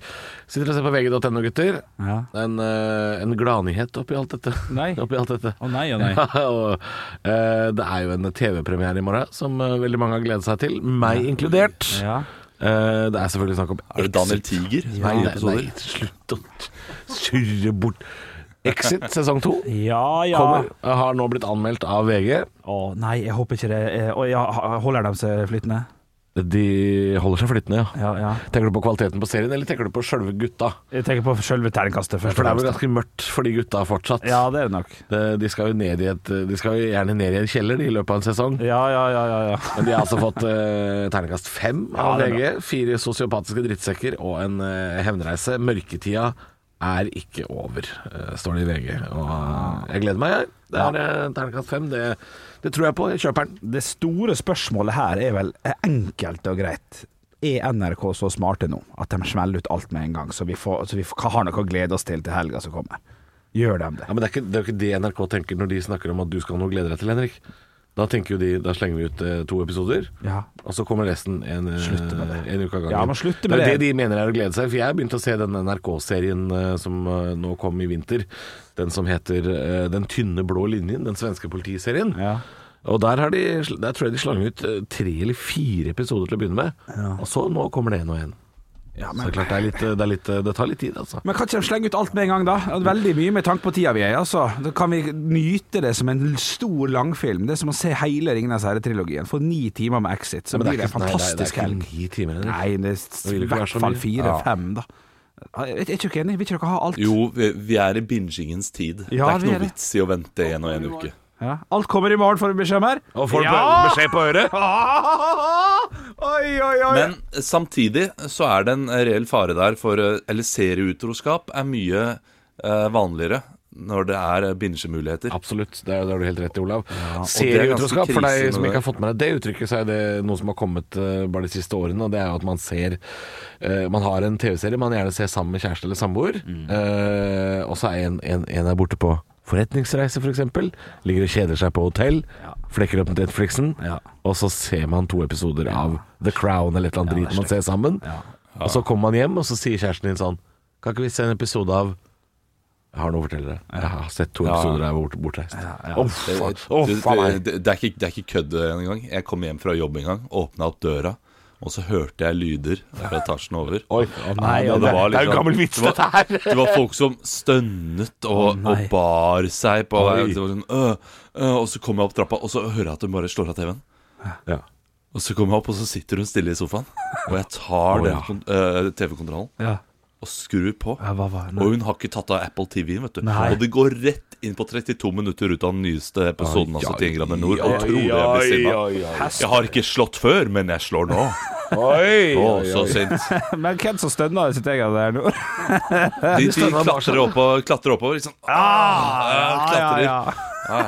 S3: Sitter og ser på vg.no, gutter.
S4: Ja.
S3: En, eh, en gladnyhet oppi alt dette.
S4: Nei.
S3: Oppi alt dette.
S4: Å nei, å nei.
S3: og, eh, det er jo en TV-premiere i morgen som eh, veldig mange har gledet seg til, meg inkludert. Eh, det er selvfølgelig snakk om
S5: Er det Daniel Tiger?
S3: Nei,
S5: som er i
S3: nei, nei,
S5: episoder?
S3: slutt å surre bort. Exit sesong to
S4: Ja,
S3: kommer. Har nå blitt anmeldt av VG.
S4: Å nei, jeg håper ikke det eh, Å ja, ha- holder de seg flytende?
S3: De holder seg flytende, ja.
S4: Ja, ja.
S3: Tenker du på kvaliteten på serien, eller tenker du på sjølve gutta?
S4: Jeg tenker på selve terningkastet først.
S3: For det er vel
S4: og fremst.
S3: ganske mørkt for de gutta fortsatt. Eh,
S4: Ja, det er det nok.
S3: De de skal jo ned i et eh, De skal jo gjerne ned i en kjeller de, i løpet av en sesong.
S4: Ja, ja, ja, ja. ja.
S3: Men de har altså fått eh, terningkast fem av
S4: Ja, det er
S3: VG. Fire sosiopatiske drittsekker og en eh, hevnreise. Mørketida er ikke over, eh, står det i VG. Og eh, jeg gleder meg, jeg. Det er eh, terningkast fem. Det, det tror jeg på. Jeg kjøper den.
S4: Det store spørsmålet her er vel eh, enkelt og greit. Er NRK så smarte nå at de smeller ut alt med en gang, så vi, får, så vi får, har noe å glede oss til til helga som kommer? Gjør de det?
S3: Ja, men det er, ikke, det er jo ikke det NRK tenker når de snakker om at du skal ha noe å glede deg til, Henrik. Da tenker jo de Da slenger vi ut eh, to episoder,
S4: Ja.
S3: og så kommer resten en, eh,
S4: Slutte med det.
S3: en uke av gangen.
S4: Ja, men slutte
S3: det
S4: med
S3: er
S4: det.
S3: det de mener er å glede seg. For jeg begynte å se den NRK-serien eh, som eh, nå kom i vinter. Den som heter eh, Den tynne blå linjen, den svenske politiserien.
S4: Ja.
S3: Og der, har de, der tror jeg de slang ut eh, tre eller fire episoder til å begynne med. Og så nå kommer det en og en. så det er klart det, er litt, eh, det, er litt, eh, det tar litt tid, altså.
S4: Men kan ikke de slenge ut alt med en gang, da? Veldig mye med tanke på tida vi er i, altså. Da kan vi nyte det som en stor langfilm. Det er som å se hele Ringenes herre-trilogien. Få ni timer med Exit, så
S3: Men
S4: blir det en
S3: nei,
S4: fantastisk
S3: det er,
S4: helg.
S3: ikke ni timer, Henrik.
S4: Nei, det
S3: vil det
S4: er i
S3: ikke være
S4: hvert
S3: så
S4: fall
S3: mye. Ja.
S4: fire-fem, da. Er er ikke dere enige? Vil ikke dere ha alt?
S5: Jo, vi, vi er i bingingens tid.
S4: Ja, vi
S5: det er ikke
S4: er
S5: noe
S4: det.
S5: vits i å vente en og en uke.
S4: Ja. Alt kommer i morgen, får vi beskjed om her.
S3: Og får du
S4: Ja!
S3: beskjed på øret?
S4: Oi, oi, oi.
S5: Men eh, samtidig så er det en reell fare der, for eh, Eller serieutroskap er mye eh, vanligere når det er bingemuligheter.
S3: Absolutt, det er- det har du helt rett i, Olav.
S5: og det er ganske
S3: Serieutroskap, for
S5: krise
S3: deg
S5: med
S3: som ikke
S5: det.
S3: har fått med deg det uttrykket, så er det noe som har kommet eh, bare de siste årene. Og det er jo at man ser eh, Man har en TV-serie man gjerne ser sammen med kjæreste eller samboer,
S5: Mm.
S3: eh, og så er en, en, en er borte på forretningsreise, f.eks. For eksempel. Ligger og kjeder seg på hotell, flekker opp Netflixen,
S4: Ja.
S3: og så ser man to episoder av The Crown eller et eller annet drit man ser sammen. Og så kommer man hjem, og så sier kjæresten din sånn Kan ikke vi se en episode av jeg har noe å fortelle deg. Jeg har sett to episoder der jeg var bort- bortreist. Å,
S5: Det,
S3: faen. Å,
S5: det,
S3: faen meg.
S5: det, det, er ikke, det er ikke kødd eh, engang. Jeg kom hjem fra jobb en gang, åpna opp døra, og så hørte jeg lyder fra etasjen over.
S3: Oi.
S4: nei,
S5: og
S3: det,
S5: var
S3: det er jo
S5: liksom-
S3: gammel vits,
S5: det
S3: dette
S5: var-
S3: her.
S5: Det var folk som stønnet og,
S4: Å, nei.
S5: og bar seg på
S3: Oi.
S5: det var sånn, øh, øh, Og så kommer jeg opp trappa, og så hører jeg at hun bare slår av TV-en.
S3: Ja.
S5: Og så kommer jeg opp, og så sitter hun stille i sofaen. Og jeg tar
S3: Å,
S5: den
S3: ja.
S5: kon- øh, TV-kontrollen
S4: Ja.
S5: og skrur på.
S4: Ja, hva var det?
S5: og hun har ikke tatt av Apple TV-en, vet du.
S4: Nei.
S5: Og det går rett inn på 32 minutter ut av den nyeste episoden av 71 grader nord. Og tror jeg blir sinna. Jeg har ikke slått før, men jeg slår nå. Å, så sint.
S4: Men hvem som stønner i sitt eget der nå?
S5: De, de klatrer,
S4: sånn.
S5: opp og, klatrer oppover. Liksom. Ah, klatrer.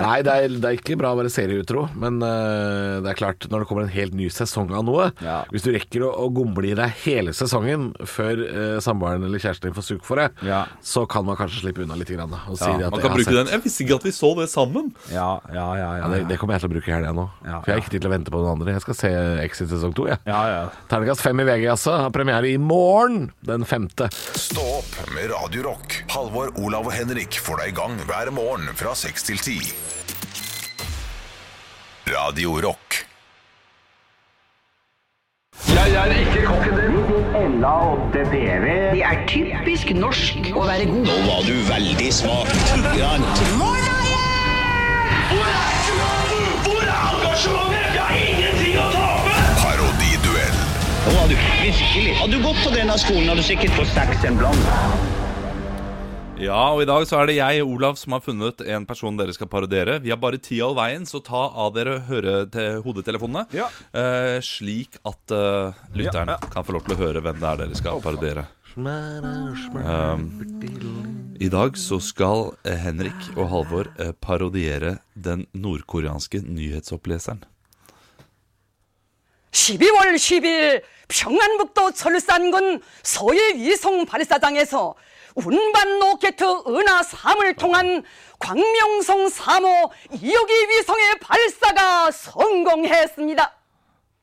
S3: Nei, det er, det er ikke bra å være serieutro, men eh, det er klart, når det kommer en helt ny sesong av noe
S4: Ja.
S3: Hvis du rekker å, å gomle i deg hele sesongen før uh, samboeren eller kjæresten din får suk for det,
S4: Ja.
S3: så kan man kanskje slippe unna litt. Grann, da, og si
S4: Ja,
S3: det at
S5: Man
S3: jeg
S5: kan
S3: har
S5: bruke
S3: sett-
S5: den. Jeg visste ikke at vi så det sammen.
S4: Ja, ja, ja.
S3: Ja, det, det kommer jeg til å bruke i helga nå.
S4: Ja,
S3: for jeg
S4: ja.
S3: har ikke tid til å vente på noen andre. Jeg skal se Exit sesong to, jeg.
S4: ja, ja.
S3: Terningkast fem i VG, altså. Har premiere i morgen, den femte.
S1: Stå opp med Radio Rock. Halvor, Olav og Henrik får deg i gang hver morgen fra 6 til 10. Radio Rock.
S9: Jeg er ikke kokken din. Ella og DDV. Det er typisk norsk å være god. Nå var du veldig smak.
S7: Hvor er engasjementet? Jeg har ingenting å tape!
S1: Parodiduell.
S9: Nå var du virkelig. Hadde du gått på denne skolen, hadde du sikkert fått seks en blant.
S5: Ja, og i dag så er det jeg, Olav, som har funnet en person dere skal parodiere. Vi har bare ti all veien, så ta av dere høre til hodetelefonene.
S4: Ja.
S5: eh, slik at eh, lytteren
S4: Ja, ja.
S5: kan få lov til å høre hvem det er dere skal parodiere. Um, I dag så skal eh, Henrik og Halvor eh, parodiere den nordkoreanske nyhetsoppleseren.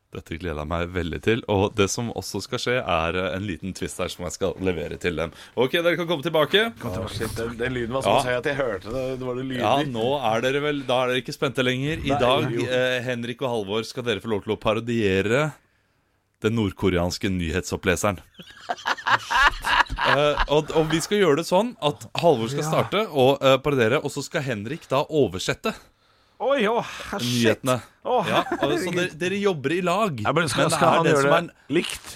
S5: Dette gleder jeg meg veldig til. Og det som også skal skje, er eh, en liten twist her som jeg skal levere til dem. Ok, dere kan komme tilbake.
S3: Den, lyden var
S5: såpass Ja. høy
S3: at jeg hørte det. Det var det lyder.
S5: Ja, nå er dere vel Da er dere ikke spente lenger. I dag, eh, Henrik og Halvor, skal dere få lov til å parodiere den nordkoreanske nyhetsoppleseren. Eh, og, og vi skal gjøre det sånn at Halvor skal starte og eh, parodiere, og så skal Henrik da oversette
S4: Oi, å, shit.
S5: nyhetene.
S4: Å,
S5: Ja, og så dere, dere jobber i lag.
S3: Ja, men skal,
S5: det
S3: skal
S5: er
S3: han
S5: det
S3: gjøre
S5: som
S3: det
S5: er en-
S3: likt?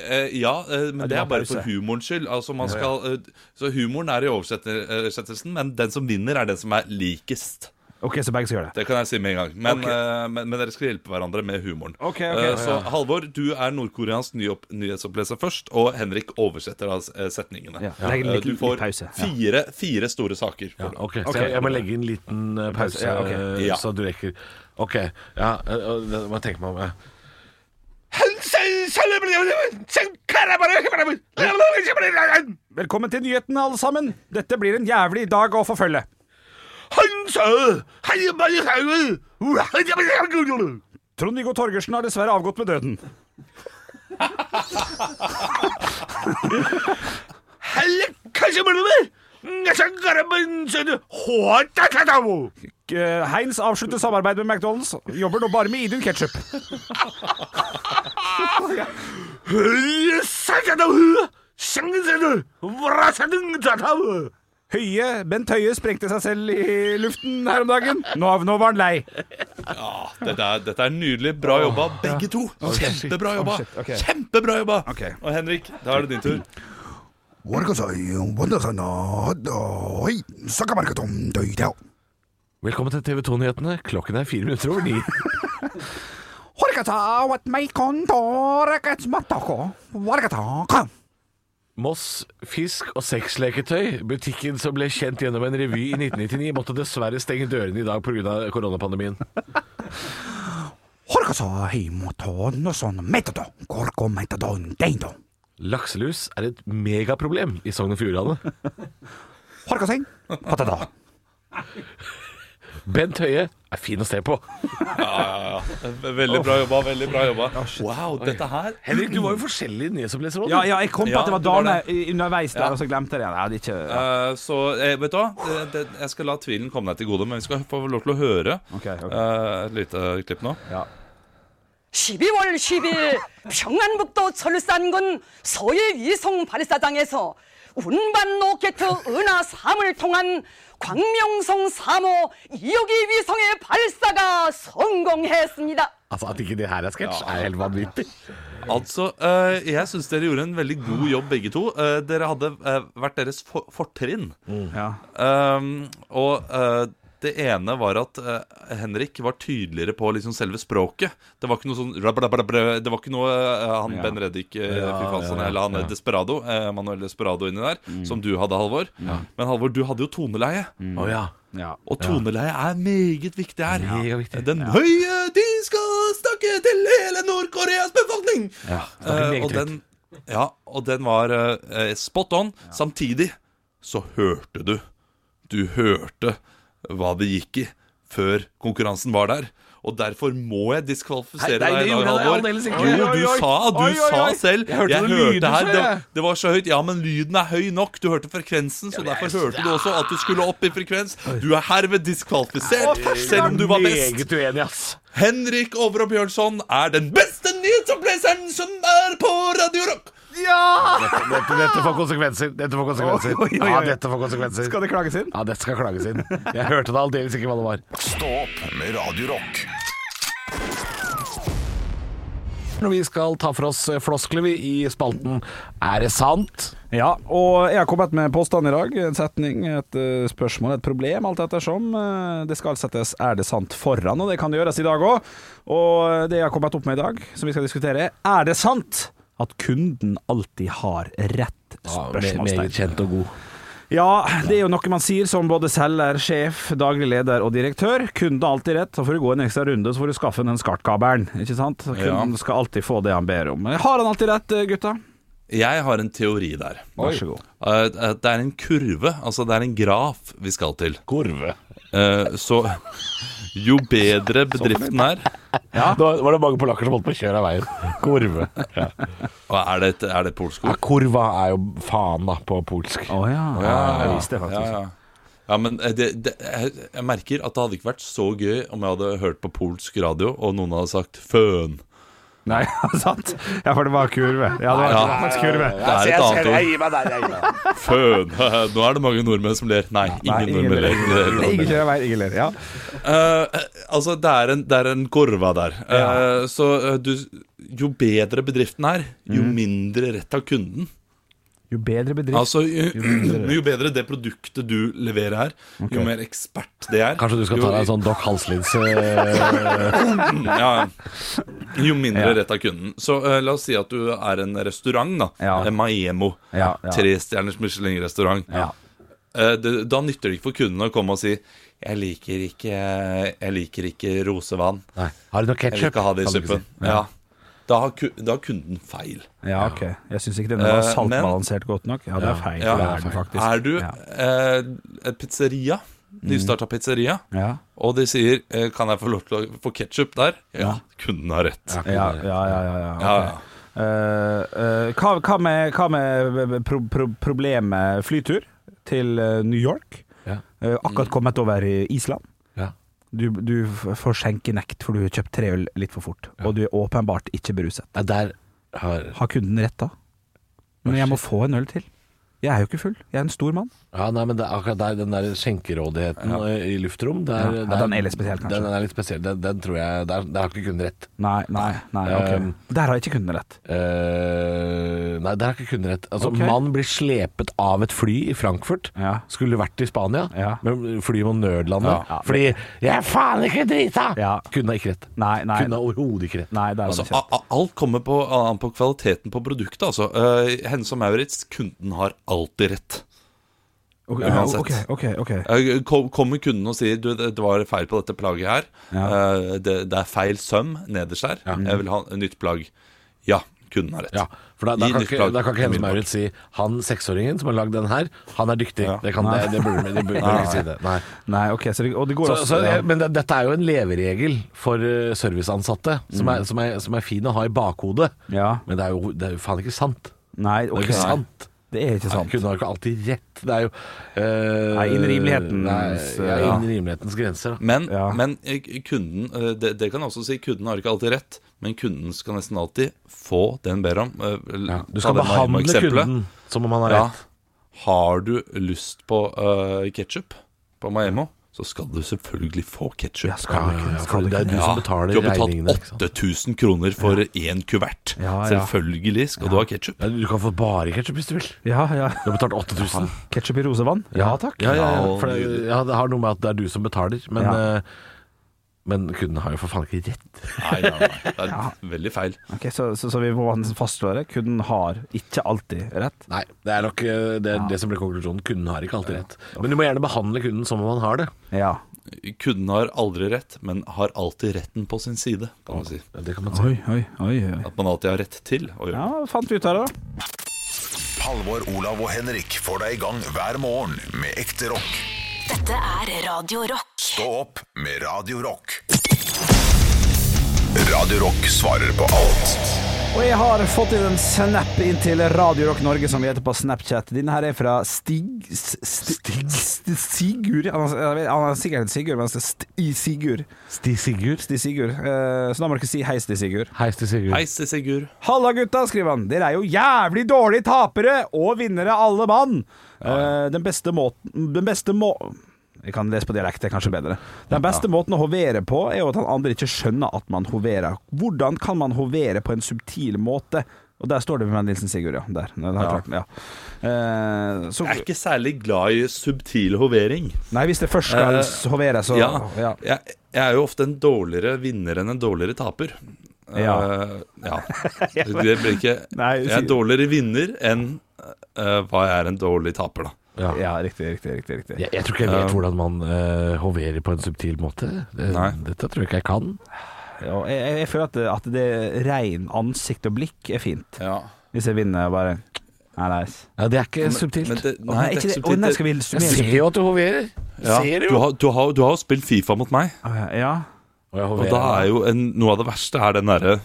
S5: Eh, ja, eh, men det
S4: var
S5: er bare
S4: pause.
S5: for humorens skyld. Altså, man skal, eh, så humoren er i oversetter- eh, oversettelsen, men den som vinner, er den som er likest.
S4: OK, så begge skal gjøre det.
S5: Det kan jeg si med en gang. Men,
S4: Ok.
S5: eh, men, men dere skal hjelpe hverandre med humoren.
S4: Ok, ok.
S5: Eh, så
S4: Ja, ja.
S5: Halvor, du er nordkoreansk nyopp- nyhetsoppleser først, og Henrik oversetter da s- eh, setningene.
S4: Ja, legg
S5: Eh,
S4: litt-
S5: du får
S4: litt pause. Ja.
S5: fire, fire store saker. får du.
S3: Ok, så jeg, jeg må legge inn en liten eh, pause,
S4: Ja, ok.
S3: eh,
S5: Ja.
S3: så du rekker. Ok, ja, eh, og det må jeg tenke meg om. eh.
S4: Velkommen til nyhetene, alle sammen. Dette blir en jævlig dag å forfølge. Trond-Viggo Torgersen har dessverre avgått med døden. Eh, Heinz avslutter samarbeid med McDonald's. Jobber nå bare med Idun ketsjup. Høie, Bent Høie sprengte seg selv i luften her om dagen. Nå, nå var han lei.
S5: Ah, dette, er, dette er nydelig. Bra jobba, begge to. Kjempebra jobba.
S4: Oh, shit, ok.
S5: Kjempebra jobba.
S4: Ok.
S5: Og Henrik, da er det din tur.
S3: Velkommen til TV 2-nyhetene. Klokken er fire minutter over ni. Moss fisk- og sexleketøy, butikken som ble kjent gjennom en revy i 1999, måtte dessverre stenge dørene i dag pga. koronapandemien. Lakselus er et megaproblem i Sogn og Fjordane. Bent Høie er fin å se på.
S5: Veldig bra jobba, veldig bra jobba. Wow, dette her
S3: Henrik, du var jo forskjellig i nyhetsoppleserrådet.
S4: Ja, ja, jeg kom på
S5: Ja,
S4: at det var
S5: det var
S4: dame i- underveis der, og så glemte jeg det. Nei, det er ikke ja.
S5: Eh, Så eh, vet du hva, Det- det- jeg skal la tvilen komme deg til gode, men vi skal få lov til å høre
S4: Ok, ok.
S5: eh, et lite klipp nå.
S10: 12월 10일 평안북도 철산군 서해위성 발사장에서 운반 로켓 은하 3을 통한 광명성 3호 2호기 위성의 발사가 성공했습니다.
S3: Altså, At ikke det her er sketsj, er helt vanvittig.
S5: Altså, eh, jeg syns dere gjorde en veldig god jobb, begge to. Eh, dere hadde eh, hvert deres for fortrinn.
S4: Ja.
S5: Um, og eh, det ene var at eh, Henrik var tydeligere på liksom selve språket. Det var ikke noe sånn rabrabrabra- Det var ikke noe eh, han Ben Reddik eh, fy faen, sånn, eller han eh, Desperado, eh, Manuel Desperado inni der,
S3: Mm.
S5: som du hadde, Halvor. Men Halvor, du hadde jo toneleie.
S3: Å ja.
S4: ja.
S5: Og toneleie er meget viktig her.
S3: Meget viktig.
S5: Den høye de skal snakke til hele Nord-Koreas befolkning!
S3: ja.
S5: Eh, og, den, ja, og den var eh, spot on. Samtidig så hørte du Du hørte hva det gikk i før konkurransen var der. Og derfor må jeg
S3: Nei,
S5: diskvalifisere
S3: nei, det
S5: deg. i dag,
S3: gjorde jeg
S5: Halvor.
S3: aldeles ikke.
S5: Jo,
S3: Oi,
S5: du
S3: oi, oi.
S5: sa, du
S3: Oi, oi,
S5: sa
S3: oi.
S5: selv.
S3: Jeg hørte det lyder
S5: her,
S3: som
S5: det,
S3: jeg.
S5: det var så høyt. Ja, men lyden er høy nok. Du hørte frekvensen, så derfor hørte du også at du skulle opp i frekvens. Du er herved diskvalifisert, selv om du var best.
S3: Meget uenig, ass.
S5: Henrik Overå Bjørnson er den beste nyhetsoppleseren som er på Radio Rock!
S3: Dette, dette, dette får konsekvenser. Dette får konsekvenser.
S4: Oi, oi, oi, oi.
S3: Ja, dette får konsekvenser.
S4: Skal det klages inn?
S3: Ja, dette skal klages inn. Jeg hørte det aldeles ikke hva det var.
S1: Stå opp med Radio Rock.
S3: Når vi skal ta for oss eh, floskler vi i spalten Er det sant?
S4: Ja, og jeg har kommet med påstand i dag. En setning, et eh, spørsmål, et problem, alt ettersom. Eh, Det skal settes 'er det sant' foran, og det kan det gjøres i dag òg. Og det jeg har kommet opp med i dag, som vi skal diskutere, er 'er det sant' at kunden alltid har rett? Spørsmålstegn.
S3: kjent og god.
S4: Ja, det er jo noe man sier som både selger, sjef, daglig leder og direktør. Kunden har alltid rett, så får du gå en ekstra runde, så får du skaffe den skartkabelen. Ikke sant? Så Kunden skal alltid få det han ber om. Har han alltid rett, gutta?
S5: Jeg har en teori der.
S4: Vær så god.
S5: Eh, eh, Det er en kurve, altså det er en graf vi skal til.
S3: Kurve.
S5: Eh, Så jo bedre bedriften er
S3: Da var det mange polakker som holdt på å kjøre av veien. Kurve. Ja.
S5: Og Er det, et- er det et polsk
S3: Ja,
S5: ord?
S3: kurva er jo faen, da, på polsk.
S4: Å ja. Jeg visste det
S5: Ja,
S4: faktisk.
S5: ja. Ja, men eh, det, det, jeg jeg merker at det hadde ikke vært så gøy om jeg hadde hørt på polsk radio, og noen hadde sagt 'føn'.
S4: Nei, sant. Ja, for det var kurve. Ja, det var faktisk kurve.
S5: Det er et annet ord. Føn. Nå er det mange nordmenn som ler. Nei,
S4: Nei,
S5: ingen nordmenn ler. Det er helt
S4: Ingen kjører vei, ingen ler. Ja.
S5: Eh, eh, altså, det er en, det er en kurva der. Eh, så eh, du, jo bedre bedriften er, jo mindre rett har kunden.
S4: Jo bedre bedrift
S5: Altså, jo, jo bedre det produktet du leverer er, jo mer ekspert det er.
S3: Kanskje du skal ta deg en
S5: jo,
S3: sånn Doc Halslins eh,
S5: ja, jo mindre rett av kunden. Så eh, la oss si at du er en restaurant, da.
S4: Ja.
S5: En Maemo.
S4: Ja, ja.
S5: Trestjerners Michelin-restaurant.
S4: Ja.
S5: Eh, det- Da nytter det ikke for kunden å komme og si 'Jeg liker ikke, jeg liker ikke rosevann'.
S3: Nei. Har du noe
S5: Jeg vil
S3: ketsjup?
S5: ikke ha det i suppen. Ja. Da, har ku, da har kunden feil.
S4: Ja, ok. Jeg syns ikke den var
S5: Eh, men-
S4: saltbalansert godt nok. Ja, det er feil.
S5: Ja.
S4: det er den faktisk.
S5: Er du
S4: Ja. Mm.
S5: eh, et pizzeria, nystarta pizzeria,
S4: Ja.
S5: og de sier eh, 'Kan jeg få lov til å få ketsjup der?' Ja, kunden har rett. Ja,
S4: Ja, ja, ja, ja, ja.
S5: ja.
S4: ok. Eh, eh, hva, hva med, hva med pro, pro, problemet flytur til eh, New York?
S3: Ja.
S4: Eh, akkurat kommet over i Island.
S3: Ja.
S4: Du, du f- får skjenkenekt, for du har kjøpt tre øl litt for fort. Og du er åpenbart ikke beruset.
S3: Nei, der har
S4: Har kunden rett da? Men jeg må få en øl til. Jeg er jo ikke full. Jeg er en stor mann.
S3: Ja, nei, men det er akkurat der, den der skjenkerådigheten eh, i luftrom der,
S4: Ja, ja,
S3: der-
S4: den er litt spesiell, kanskje.
S3: Den, den er litt spesiell. Den, den tror jeg Der, der har ikke kunden rett.
S4: Nei, nei, nei. ok.
S3: Um,
S4: Der har jeg ikke kunnet rett.
S3: Eh, nei, der har ikke kunden rett. Altså,
S4: Ok.
S3: Mann blir slepet av et fly i Frankfurt.
S4: Ja.
S3: Skulle vært i Spania,
S4: Ja.
S3: men flyet må nødlande.
S4: Ja.
S3: Fordi 'jeg er faen ikke drita'!
S4: Ja.
S3: Kunne ha ikke rett.
S4: Nei, nei.
S3: Kunne ha overhodet ikke rett.
S4: Nei, der har
S5: Altså,
S4: jeg ikke.
S5: a- a- alt kommer på, an på kvaliteten på produktet. Altså. Uh, Hennes og Maurits, kunden har alltid rett.
S4: Ok,
S5: uansett.
S4: ok, ok, ok.
S5: Eh, kom- Kommer kunden og sier du, det det var feil på dette plagget her. Eh, det, det er feil søm nederst her. Jeg vil ha nytt plagg. Ja, kunden har rett.
S3: Ja, for da, da,
S5: Gi
S3: kan
S5: nytt
S3: ikke,
S5: plagg.
S3: da kan ikke Hennes Maurits si 'han seksåringen som har lagd den her, han er dyktig'. Det, kan, det, det burde de burde ikke si det. Nei.
S4: Nei, ok, så det, og det går
S3: Så,
S4: også
S3: så, jeg- men det, dette er jo en leveregel for eh, serviceansatte, som, er, som, er, som er fin å ha i bakhodet.
S4: Mm. Ja.
S3: Men det er jo, det er jo faen ikke sant.
S4: Nei, ok.
S3: Det er jo ikke sant.
S4: Det er ikke
S3: Nei,
S4: sant.
S3: Kunden har jo ikke alltid rett. Det er jo eh,
S4: Nei, innen rimelighetens,
S3: nei, ja,
S4: ja.
S3: Innen rimelighetens grenser. da.
S5: Men,
S4: Ja.
S5: men eh, kunden eh, det, det kan jeg også si, kunden har ikke alltid rett, men kunden skal nesten alltid få det han ber om. Eh, l-
S3: Du
S5: ta
S3: skal
S5: det
S3: behandle
S5: Marimo eksempelet.
S3: kunden som om han har
S5: Ja.
S3: rett.
S5: Har du lyst på uh, ketsjup på Maemo, så skal du selvfølgelig få ketsjup.
S4: Ja, skal du ikke,
S3: for
S4: skal du
S3: det er
S4: ikke.
S3: du som betaler
S5: du har
S3: regningene. ikke sant?
S5: betalt 8000 kroner for én kuvert.
S4: Ja, ja.
S5: Selvfølgelig skal du ha ketsjup.
S3: Ja, Du kan få bare ketsjup hvis du vil.
S4: Ja, ja.
S3: Du har betalt 8000.
S4: Ketchup i rosevann? Ja takk.
S3: Ja, ja, ja,
S5: Ja,
S3: for det,
S5: nydelig.
S3: ja, det har noe med at det er du som betaler, men,
S4: Ja.
S3: eh, men kunden har jo for faen ikke rett.
S5: Nei, nei, nei. Det er veldig feil.
S4: Ok, så, så, så vi må fastslå det. Kunden har ikke alltid rett.
S3: Nei, det er nok eh, det, er det som blir konklusjonen. Kunden har ikke alltid rett. Men du må gjerne behandle kunden som om han har det.
S4: Ja.
S5: Kunden har aldri rett, men har alltid retten på sin side, kan man si.
S3: Ja, Det kan man si.
S4: oi, oi. oi.
S5: At man alltid har rett til å gjøre
S4: Ja,
S5: det.
S4: fant vi ut av det, da.
S1: Halvor, Olav og Henrik får deg i gang hver morgen med ekte rock.
S2: Dette er Radio Rock.
S1: Stå opp med Radio Rock. Radio Rock svarer på alt.
S4: Og jeg har fått inn en snap inn til Radio Rock Norge, som vi heter på Snapchat. Denne her er fra Stig S- Stig St- Sigurd. Han er, jeg vet- han er sikkert en Sigurd, men han er Sti Sigurd.
S3: Sti Sigurd.
S4: Sti Sigurd. Eh, Så da må dere si hei, Sti Sigurd.
S3: Hei, Sti Sigurd.
S5: Hei, se, Sigurd.
S4: Halla gutta, skriver han. Dere er jo jævlig dårlige tapere og vinnere alle mann. Eh, den beste måten Den beste må... Jeg kan lese på dialekt, det er kanskje bedre. Den beste måten å hovere på, er jo at han andre ikke skjønner at man hoverer. Hvordan kan man hovere på en subtil måte? Og der står det med Nilsen Sigurd, ja. Der. Den har jeg klart, ja. Eh, så,
S5: Jeg er ikke særlig glad i subtil hovering.
S4: nei, hvis det først skal
S5: Eh,
S4: hovere, så
S5: Ja,
S4: ja.
S5: Jeg, jeg er jo ofte en dårligere vinner enn en dårligere taper.
S4: Ja.
S5: Eh, ja. Det blir ikke
S4: Nei,
S5: Jeg er en
S4: sier-
S5: dårligere vinner enn eh, hva jeg er en dårlig taper, da.
S3: Ja.
S4: ja, riktig, riktig, riktig. riktig.
S3: Jeg, jeg tror ikke jeg vet hvordan man eh, hoverer på en subtil måte. Det,
S5: Nei.
S3: dette tror jeg ikke jeg kan.
S4: Ja, og jeg, jeg føler at det, at det rein ansikt og blikk er fint. Hvis jeg vinner, bare Nei, nice.
S3: Ja, det er ikke subtilt.
S5: Men det,
S4: Å,
S5: nei, det er ikke
S4: Å,
S5: subtilt.
S4: nei,
S5: Det-
S4: skal vi
S3: jeg
S4: summere?
S3: ser jo at du hoverer.
S5: Ja,
S3: Ser
S5: du, har, du, har, du har jo spilt Fifa mot meg,
S4: Å, ja. ja.
S3: Og jeg
S5: og
S3: hoverer.
S5: da er jo en, noe av det verste er den derre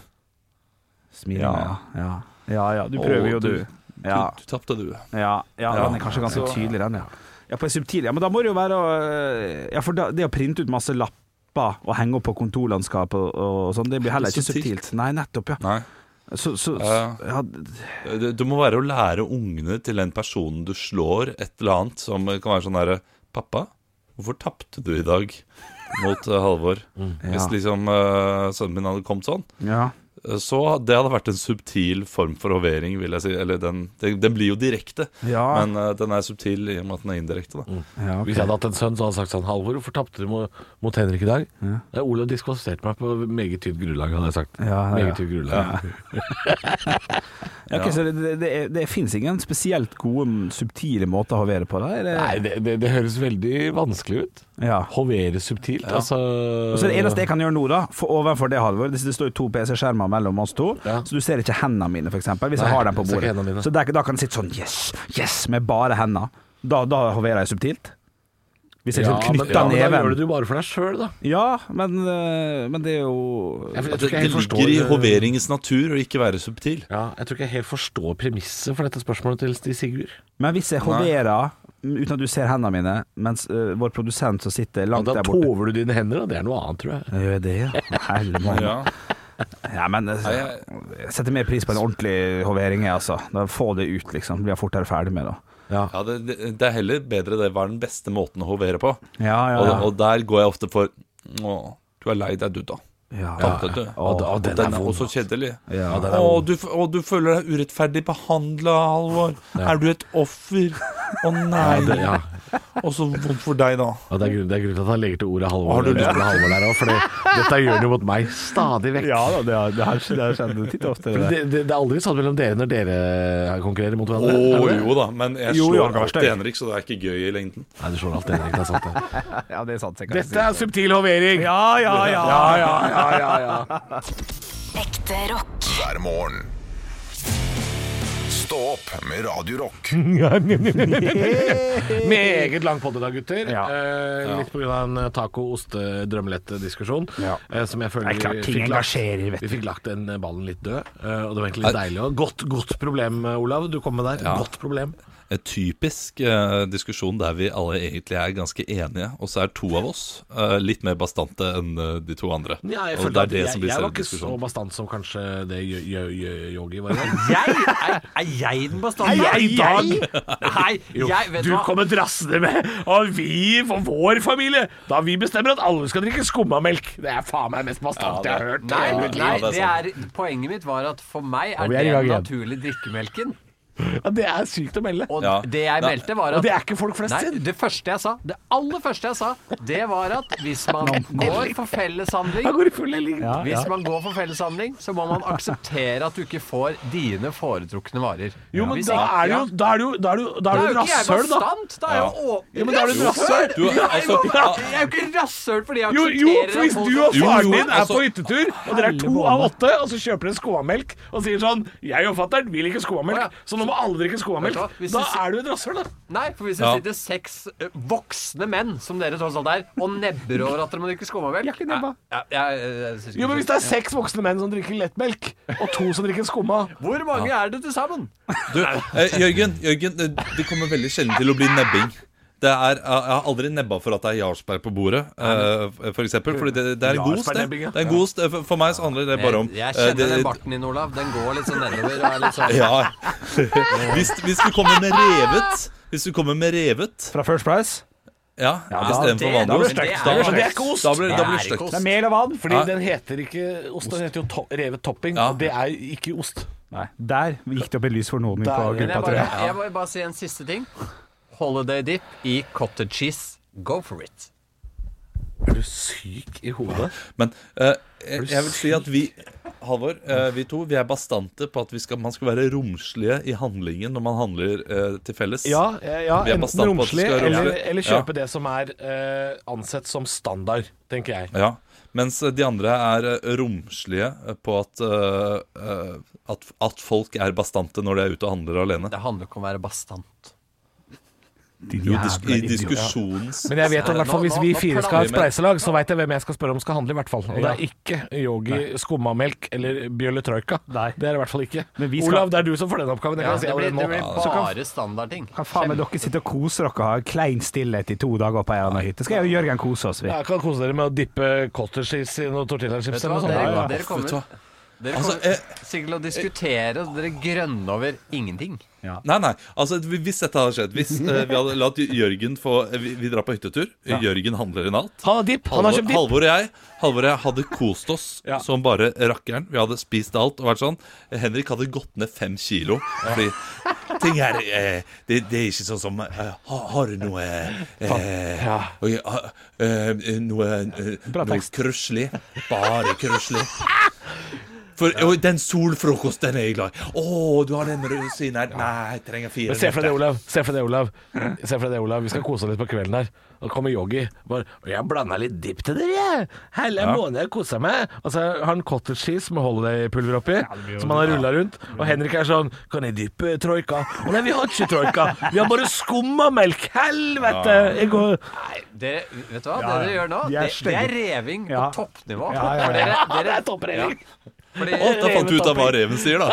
S4: Smil, ja.
S5: Ja.
S4: ja. Ja, ja. Du prøver
S5: Å,
S4: jo, du.
S5: du-
S4: Ja,
S5: Du, du tapte, du.
S4: ja. ja
S5: Ja.
S4: Den er kanskje ganske tydelig, den, ja. Ja, på en subtil Ja, men da må det jo være å eh, Ja, for da, det å printe ut masse lapper og henge opp på kontorlandskap og, og sånn, det blir heller ikke
S5: Subtilt.
S4: subtilt. Nei, nettopp, ja.
S5: Nei.
S4: Så, så,
S5: Ja.
S4: ja,
S5: Du, du må være å lære ungene til den personen du slår, et eller annet som kan være sånn derre Pappa, hvorfor tapte du i dag mot eh, Halvor? Hvis
S4: Ja.
S5: liksom eh, sønnen min hadde kommet sånn.
S4: ja.
S5: eh, Så det hadde vært en subtil form for hovering, vil jeg si. Eller den, den, den blir jo direkte,
S4: Ja. Mm.
S5: men eh, den er subtil i og med at den er indirekte, da.
S4: ja ok.
S3: Hvis jeg hadde hatt en sønn, så hadde jeg sagt sånn Halvor, hvorfor tapte du mot, mot Henrik i dag? Ja. Olav diskvalifiserte meg på meget tynt grunnlag, hadde jeg sagt.
S4: Ja, ja, ja.
S3: Meget tynt grunnlag.
S4: Ja, ok, så det, det, det, er- det finnes ingen spesielt gode, subtile måter å hovere på? Da, er det-
S3: Nei, det, det, det høres veldig vanskelig ut.
S4: Ja.
S3: Hovere subtilt, altså
S4: Og så Det eneste jeg kan gjøre nå, da for overfor det, Halvor Det står jo to PC-skjermer mellom oss to,
S3: Ja.
S4: så du ser ikke hendene mine, f.eks. Hvis
S3: Nei,
S4: jeg har dem på
S3: jeg ser ikke hendene mine.
S4: bordet. Så der, da kan det sitte sånn Yes! Yes! Med bare hendene. Da, da hoverer jeg subtilt. Hvis jeg
S3: ja,
S4: sånn
S3: men,
S4: knytter
S3: ja, men da gjør
S4: neven
S3: du det jo bare for deg sjøl, da.
S4: Ja, men, øh, men det er jo
S3: Jeg, jeg tror
S5: Det,
S3: ikke jeg helt
S5: det ligger i
S3: forstår eh,
S5: hoveringens natur å ikke være subtil.
S3: ja, Jeg tror ikke jeg helt forstår premisset for dette spørsmålet til Stig Sigurd.
S4: Men hvis jeg hoverer mm, uten at du ser hendene mine, mens øh, vår produsent som sitter
S3: Og
S4: langt
S3: da
S4: der borte
S3: tover du dine hender, og det er noe annet, tror jeg.
S4: Jeg Gjør det, ja? Helvete.
S5: Ja.
S4: Ja, men øh,
S5: jeg-
S4: jeg setter mer pris på en ordentlig hovering, jeg, altså. Da Få det ut, liksom. Blir jeg fortere ferdig med det.
S3: Ja.
S5: Ja, det, det det er heller bedre det. Hva er den beste måten å hovere på?
S4: Ja, ja,
S5: Og,
S4: ja.
S5: og der går jeg ofte for Å, du er lei deg, du, da. Tante, du.
S3: Og, og den er vond.
S5: også kjedelig.
S4: Ja.
S3: den er
S5: Å,
S3: vond.
S5: du, f- å, du føler deg urettferdig behandla, Halvor. Er du et offer? Å nei.
S3: Ja, det, ja.
S5: Og så vondt for deg, da.
S3: Ja, det, er grunn, det er grunnen til at han legger til ordet Halvor.
S5: Har du
S3: eller
S5: lyst-
S3: navnet Halvor der også, for det, dette gjør han jo mot meg stadig vekk.
S4: Ja da, det har, det har, det har skjedd titt og ofte.
S3: Men
S4: Det.
S3: Det, det, det er aldri sånn mellom dere når dere konkurrerer mot
S5: Å
S3: hverandre. er det det?
S5: jo da, men jeg
S4: Jo,
S5: slår
S4: Jan Garstein.
S5: alltid Henrik, så det er ikke gøy i lengden.
S3: Nei, du slår alt det, Henrik, det er sant det.
S4: Ja, det er sant. jeg kan
S3: Dette er subtil hovering!
S4: Ja, ja, ja.
S2: Ekte rock.
S1: hver morgen. Stå opp med Radio Rock.
S3: Meget lang podd i dag, gutter.
S4: Ja.
S3: Eh, litt pga. en taco-oste-drømmelett-diskusjon.
S4: Ja.
S3: Eh, som jeg føler
S4: Det er klart, ting
S3: fikk lagt-
S4: engasjerer, vet du.
S3: Vi fikk lagt den eh, ballen litt død, eh, og det var egentlig litt deilig òg. Godt, godt problem, eh, Olav. Du kom med der.
S5: Ja.
S3: Godt problem.
S5: En typisk eh, diskusjon der vi alle egentlig er ganske enige, og så er to av oss eh, litt mer bastante enn eh, de to andre.
S3: Ja, jeg
S5: og
S3: følte
S5: det
S3: at
S5: er det
S3: jeg,
S5: som
S3: jeg
S5: blir
S3: var
S5: selve
S3: ikke så
S5: diskusjonen.
S3: bastant som kanskje det yo- yo- yo- Yogi var.
S6: Jeg? Er, er jeg den bastante?
S3: Nei, jeg-
S6: Nei, jeg, vet du hva?
S3: kommer drassende med Og vi for vår familie Da vi bestemmer at alle skal drikke skummamelk Det er faen meg mest bastant
S5: Ja, det-
S3: jeg har hørt
S6: Nei,
S3: i hele mitt liv.
S6: nei
S5: Ja, det
S6: det
S5: er
S6: er, poenget mitt var at for meg
S3: Og
S6: er
S3: vi er i
S6: det
S3: gang
S6: den
S3: igjen.
S6: naturlige drikkemelken.
S3: Ja, det er sykt å melde
S6: Og
S5: Ja.
S6: det jeg
S5: Ja.
S6: meldte, var
S3: Og
S6: at
S3: det er ikke folk flest
S6: Nei,
S3: sin
S6: det første jeg sa, det aller første jeg sa, det var at hvis man går for felleshandling
S3: Han går i full helling
S6: hvis man går for felleshandling, så må man akseptere at du ikke får dine foretrukne varer.
S3: Jo, men
S6: Hvis
S3: da
S6: ikke-
S3: er det jo
S6: ja.
S3: Da er det jo Da er det jo Da er det jo
S6: Da er jo ikke jeg
S3: rasshøl da
S6: bastant! Da er
S5: Ja.
S6: jeg jo å-
S3: Ja, men da er det jo rasshøl
S5: Du, er- altså,
S6: Jeg er jo ikke rasshøl fordi jeg
S3: jo,
S6: aksepterer
S3: jo, for hvis
S6: at folk-
S3: du og
S5: Jo,
S3: faren
S5: jo,
S3: din er
S5: altså-
S3: på hyttetur Og dere er to
S4: Helvete.
S3: av åtte Og så kjøper dere skummamelk Og sier sånn Jeg og fatteren vil ikke
S6: Å, ja.
S3: skummamelk Så nå må alle drikke skummamelk
S6: Vet du hva, hvis
S3: Da
S6: du-
S3: er du et rasshøl da
S6: Nei, for hvis det
S5: Ja.
S6: sitter seks ø, voksne menn, som dere tross alt er, og nebber over at dere må drikke skummamelk
S3: Jeg er ikke nebba.
S6: Ja, jeg, jeg, jeg, synes ikke
S3: Jo, men hvis det er seks voksne menn som drikker lettmelk, og to som drikker skumma
S6: Hvor mange er det til sammen?
S5: du, eh, Jørgen, Jørgen, eh, det kommer veldig sjelden til å bli nebbing. Det er, jeg jeg har aldri nebba for at det er Jarlsberg på bordet, eh, for eksempel. Fordi det, det er en god sted.
S3: Jarlsberg-nebbing, ja.
S5: Det er en god sted. For- For meg så handler det bare om
S6: jeg
S5: eh,
S6: kjenner
S5: det-
S6: den barten din, Olav. Den går litt sånn nedover. Og er litt sånn.
S5: Ja. Hvis, hvis du kommer med revet Hvis du kommer med revet
S4: Fra First Price.
S5: Ja,
S4: da-
S5: istedenfor
S6: det- da blir
S5: vanlig
S6: det
S5: ost.
S6: stygt.
S5: Da-
S6: Det blir
S3: stygt. Det er ikke ost.
S5: Da blir da blir det
S6: Det er ikke
S5: stygt.
S4: Det er mel og vann.
S3: Fordi den heter ikke ost, den heter jo to revet topping,
S5: Ja.
S3: og det er ikke ost.
S4: Nei, der gikk det opp et lys for noen på
S3: Der-
S6: Men
S4: gruppa,
S6: jeg,
S4: tror
S6: bare,
S4: jeg.
S6: jeg må bare si en siste ting. Holiday dip i cottage cheese. Go for it.
S3: Er du syk i hodet?
S5: Men eh, jeg, jeg vil si at vi Halvor, eh, vi to, vi er bastante på at vi skal, man skal være romslige i handlingen når man handler eh, til felles.
S3: Ja, eh, ja
S5: Vi er
S3: enten
S5: bastant på at det
S3: romslig
S5: skal være
S3: eller,
S5: romslig.
S3: eller kjøpe det som er eh, ansett som standard, tenker jeg.
S5: Ja. Mens de andre er eh, romslige på at, eh, eh, at At folk er bastante når de er ute og handler alene.
S6: Det handler ikke om å være bastant.
S5: Jo, dis I diskusjonens
S3: Men jeg vet at hvert fall hvis vi fire skal ha et spleiselag, så veit jeg hvem jeg skal spørre om skal handle, i hvert fall. Og det er ikke Yogi, skummamelk eller Bjølle Troika.
S4: Nei.
S3: Det er det i hvert fall ikke.
S4: Men vi skal-
S3: Olav, det er du som får den oppgaven. Jeg
S6: Ja,
S3: kan
S4: altså,
S3: si
S6: det blir,
S3: allerede
S6: det
S3: nå.
S6: blir bare standardting.
S4: Kan faen meg dere sitte og kose dere og ha klein stillhet i to dager på ei eller annen hytte? Skal jeg og Jørgen kose oss, vi.
S3: Ja, kan kose dere med å dippe cottage cheese i noen tortillachips
S6: Vet du hva,
S3: eller noe sånt.
S6: dere,
S3: Ja, ja.
S6: dere kommer, dere
S5: Altså,
S6: kommer sikkert til å diskutere, og dere grønner over ingenting.
S5: Nei, nei, altså hvis dette hadde skjedd Hvis eh, vi hadde latt Jørgen få eh, Vi, vi drar på hyttetur, Jørgen handler inn alt
S3: Han har dipp! Han har
S5: Halvor,
S3: kjøpt dipp!
S5: Halvor og jeg Halvor og jeg hadde kost oss
S3: Ja.
S5: som bare rakkeren Vi hadde spist alt og vært sånn Henrik hadde gått ned fem kilo Fordi ting er eh, det, det er ikke sånn som eh, ha, Har du noe eh, oi, ha- eh, Noe, eh, noe krøslig Bare krøslig for og den solfrokosten er jeg glad i. Å, du har den rosinen her. Nei, jeg trenger fire.
S3: Men se for deg det,
S5: nøtter.
S3: Olav. Se for deg det, Olav. Se for deg det, Olav. Vi skal kose oss litt på kvelden her. Og kommer Yogi. Bare, «Og 'Jeg blanda litt dipp til dere, jeg. Hele måneden jeg kosa meg.' Og så har han cottage cheese med holidaypulver oppi, som han har rulla rundt. Og Henrik er sånn 'Kan jeg dyppe troika?' 'Å nei, vi har ikke troika. Vi har bare skummamelk. Helvete!' Jeg går
S6: Dere, vet du hva
S4: Ja,
S6: dere
S4: ja.
S6: gjør nå?
S4: De er
S6: Det, det er
S4: stygge.
S6: reving på
S4: Ja.
S6: toppnivå.
S4: Ja, ja, ja.
S6: For Dere,
S3: Det
S6: dere,
S3: er toppreving.
S6: fordi,
S5: Å, da fant vi ut av hva reven sier, da.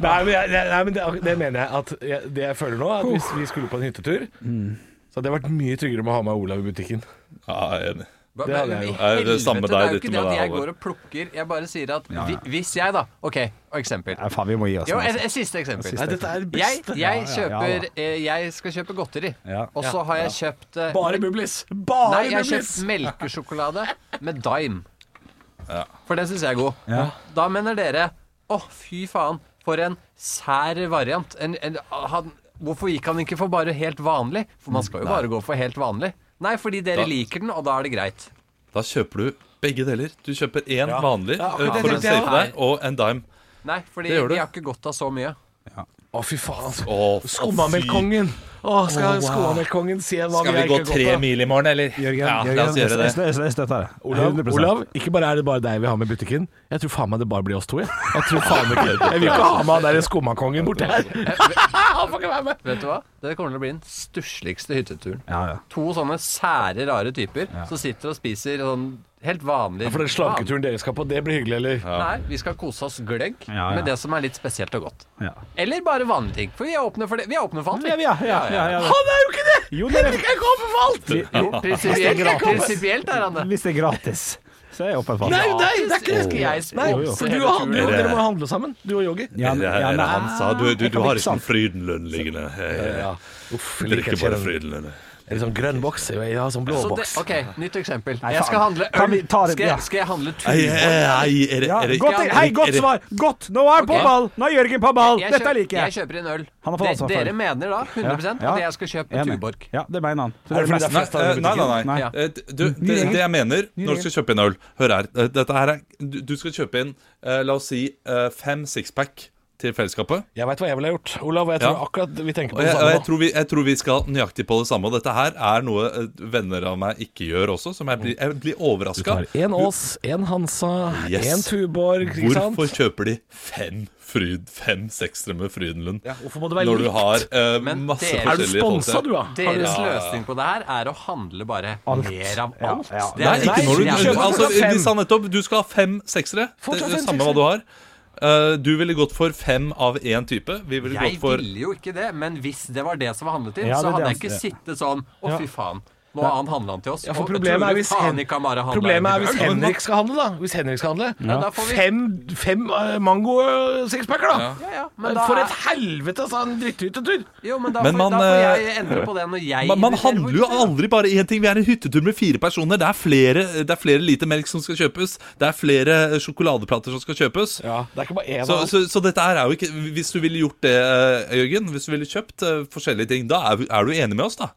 S3: Nei, men, jeg, nei, men det, det mener jeg at jeg, Det jeg føler nå, er at Mm. hvis vi skulle på en hyttetur Så hadde det vært mye tryggere med å ha med Olav i butikken
S5: Ja, jeg er enig.
S6: Hva-
S4: Det hadde jeg
S6: men
S4: gjort.
S6: i
S5: Nei, det
S6: helvete,
S5: samme
S6: Det er
S5: deg,
S6: jo
S5: ditten
S6: ikke det
S5: med
S6: at
S5: deg,
S6: jeg
S5: Halvor.
S6: går og plukker. Jeg bare sier at
S4: Ja, ja.
S6: vi- hvis jeg, da OK, og eksempel.
S4: Nei, faen, vi må gi oss.
S6: Jo,
S4: nå,
S6: et,
S4: altså.
S6: et siste eksempel.
S4: Siste. Nei,
S3: dette er det
S6: Jeg,
S3: beste.
S6: jeg,
S4: Ja, ja, ja,
S6: kjøper, eh, jeg skal kjøpe godteri,
S4: Ja.
S6: og så har jeg kjøpt eh,
S3: Bublis!
S6: Nei,
S3: Bare
S6: jeg har kjøpt melkesjokolade med Dime. For den syns jeg er god.
S4: Ja.
S6: Da mener dere Å, fy faen, for en sær variant. En, en, han, hvorfor gikk han ikke for bare helt vanlig? For man skal jo bare gå for helt vanlig. Nei, fordi dere
S5: Da-
S6: liker den, og da er det greit.
S5: Da kjøper du begge deler. Du kjøper én vanlig
S3: Ja,
S5: eh,
S3: det
S5: for
S6: tenkte
S5: en
S6: jeg
S5: safe
S6: også.
S5: deg, og en dime.
S6: Nei, fordi
S5: Det gjør du.
S6: de har ikke godt av så mye.
S3: Å, fy faen.
S5: Å,
S3: Skummamelkongen! Å, skal
S5: Å, wow.
S3: skummamelkongen si hva
S5: Skal vi gå tre mil i morgen, eller?
S4: Jørgen,
S5: ja,
S4: Jørgen,
S5: la oss gjøre det.
S4: Jeg, jeg, jeg støtter det.
S3: Olav,
S4: 100%.
S3: Olav, ikke bare er det bare deg vi har med i butikken. Jeg tror faen meg det bare blir oss to. Jeg, jeg tror faen ikke Jeg vil ikke ha med han der skummakongen borti her. Han får ikke være med.
S6: Vet du hva? Det kommer til å bli den stussligste hytteturen.
S4: Ja, ja.
S6: To sånne sære, rare typer som sitter og spiser sånn helt vanlig
S3: For den slanketuren dere skal på, det blir hyggelig, eller?
S6: Van- Nei, vi skal kose oss gløgg
S4: Ja, ja.
S6: med det som er litt spesielt og godt.
S4: Ja.
S6: Eller bare vanlige ting. For vi er åpne for det. Vi er åpne for alt.
S4: Ja, ja, ja, ja, ja.
S3: Han er jo ikke det!
S4: Jo, det er,
S3: Jeg går for alt!
S4: vi- jo,
S6: Prinsipielt, prinsipielt er han det.
S4: hvis det er gratis, så er jeg åpen for
S3: Nei, nei,
S4: det.
S3: det er ikke det.
S6: Skal jeg
S3: Nei,
S4: jo.
S3: for du og han,
S5: Dere-
S3: dere må jo handle sammen. Du og Yogi.
S4: Ja,
S5: Eller-
S4: ja,
S5: eller
S4: nei,
S5: han sa du, du,
S4: jeg
S5: du
S4: kan ikke
S5: har ikke
S4: sant.
S5: noen frydenlønn liggende. Ja, ja.
S3: Uff,
S5: Drikker bare frydenlønn.
S3: Eller sånn grønn boks. Jeg har sånn
S5: Altså,
S3: blå
S6: Så det,
S3: boks.
S6: ok, nytt eksempel.
S4: Nei,
S6: Jeg skal
S4: faen.
S6: handle
S4: Kan vi
S6: øl.
S4: ta det-
S6: Skal
S4: ja.
S6: jeg, skal jeg handle
S5: Ei, ei,
S6: tuborg?
S5: ei, er det-
S4: Ja,
S5: er det-
S4: godt,
S5: er
S4: hei,
S5: det-
S4: godt
S5: er det-
S4: svar! Godt! Nå er han på
S6: Ok.
S4: ball! Nå er Jørgen på ball!
S6: Jeg
S4: Dette
S6: kjøp-
S4: liker
S6: jeg
S4: jeg.
S6: kjøper en øl.
S4: Han har fått
S6: De-
S4: ansvar for
S6: Dere
S4: det.
S6: mener da
S4: Ja,
S6: 100
S4: ja.
S6: at jeg skal kjøpe
S4: Enig.
S6: tuborg.
S4: Ja, det mener han. Så
S3: Er det fordi
S4: det
S3: det
S4: er
S5: Nei,
S3: Fest er
S5: eh,
S3: det
S5: nei, nei,
S4: Nei.
S5: nei. Eh, Du, det, det jeg mener når du skal kjøpe inn øl Hør her. eh, Dette her er, du, du skal kjøpe inn, eh, la oss si, eh, fem sixpack til fellesskapet.
S3: Jeg veit hva jeg ville ha gjort. Olav, og jeg tror
S5: Ja.
S3: akkurat vi tenker
S5: Og
S3: på det
S5: jeg, og
S3: samme.
S5: jeg,
S3: nå.
S5: tror vi, jeg tror vi skal nøyaktig på det samme. Og dette her er noe eh, venner av meg ikke gjør også, som jeg blir, jeg blir
S3: Du
S5: overraska.
S3: tar E. én Ås, én Hansa, én
S5: Yes.
S3: Tuborg, ikke sant?
S5: Hvorfor kjøper de fem, fryd, fem sekstre med Frydenlund
S3: Hvorfor må det
S5: når du har eh,
S6: Men
S5: masse
S6: dere-
S5: forskjellige
S6: Er
S3: Er du sponsa, du, da?
S6: Deres løsning på det her er å handle bare mer av
S4: Ja,
S6: alt.
S4: ja.
S6: Det
S5: Nei,
S6: er-
S5: ikke når du,
S6: Nei,
S3: kjøper-
S5: altså,
S3: folk har
S5: de
S3: fem.
S5: sa nettopp du skal ha fem seksere.
S3: Folk
S5: Det,
S3: har
S5: det
S3: fem
S5: samme hva du har. Eh, du ville gått for fem av én type. Vi ville
S6: Jeg
S5: gått for
S6: ville jo ikke det, men hvis det var det som var handlet inn,
S4: Ja, det
S6: så
S4: er det
S6: hadde jeg
S4: han-
S6: ikke
S4: ja.
S6: sittet sånn Å, fy faen. Nå har han handla til oss.
S3: Ja, for
S6: og
S3: problemet er
S6: tror du
S3: hvis,
S6: faen
S3: Hen
S6: ikke han bare handlet
S3: problemet er
S6: inn
S3: hvis
S6: til øl?
S3: Henrik skal handle, da. Hvis Henrik skal handle.
S6: da får vi-
S3: Fem, fem eh, mango eh, sixpacker, da.
S6: Ja, ja, men da
S3: For
S6: er-
S3: et helvetes sånn dritthyttetur!
S6: Jo, men da,
S5: Men
S6: får,
S5: man,
S6: da får jeg
S5: eh,
S6: endre på det når jeg
S5: man, man
S6: inviterer
S5: handler jo
S6: folk til det.
S5: aldri bare én ting. Vi er en hyttetur med fire personer. Det er flere, det er flere liter melk som skal kjøpes. Det er flere eh, sjokoladeplater som skal kjøpes.
S3: Ja, det er ikke bare én
S5: Så,
S3: av oss.
S5: så, så dette her er jo ikke Hvis du ville gjort det, eh, Jørgen, hvis du ville kjøpt eh, forskjellige ting, da er, er du enig med oss, da?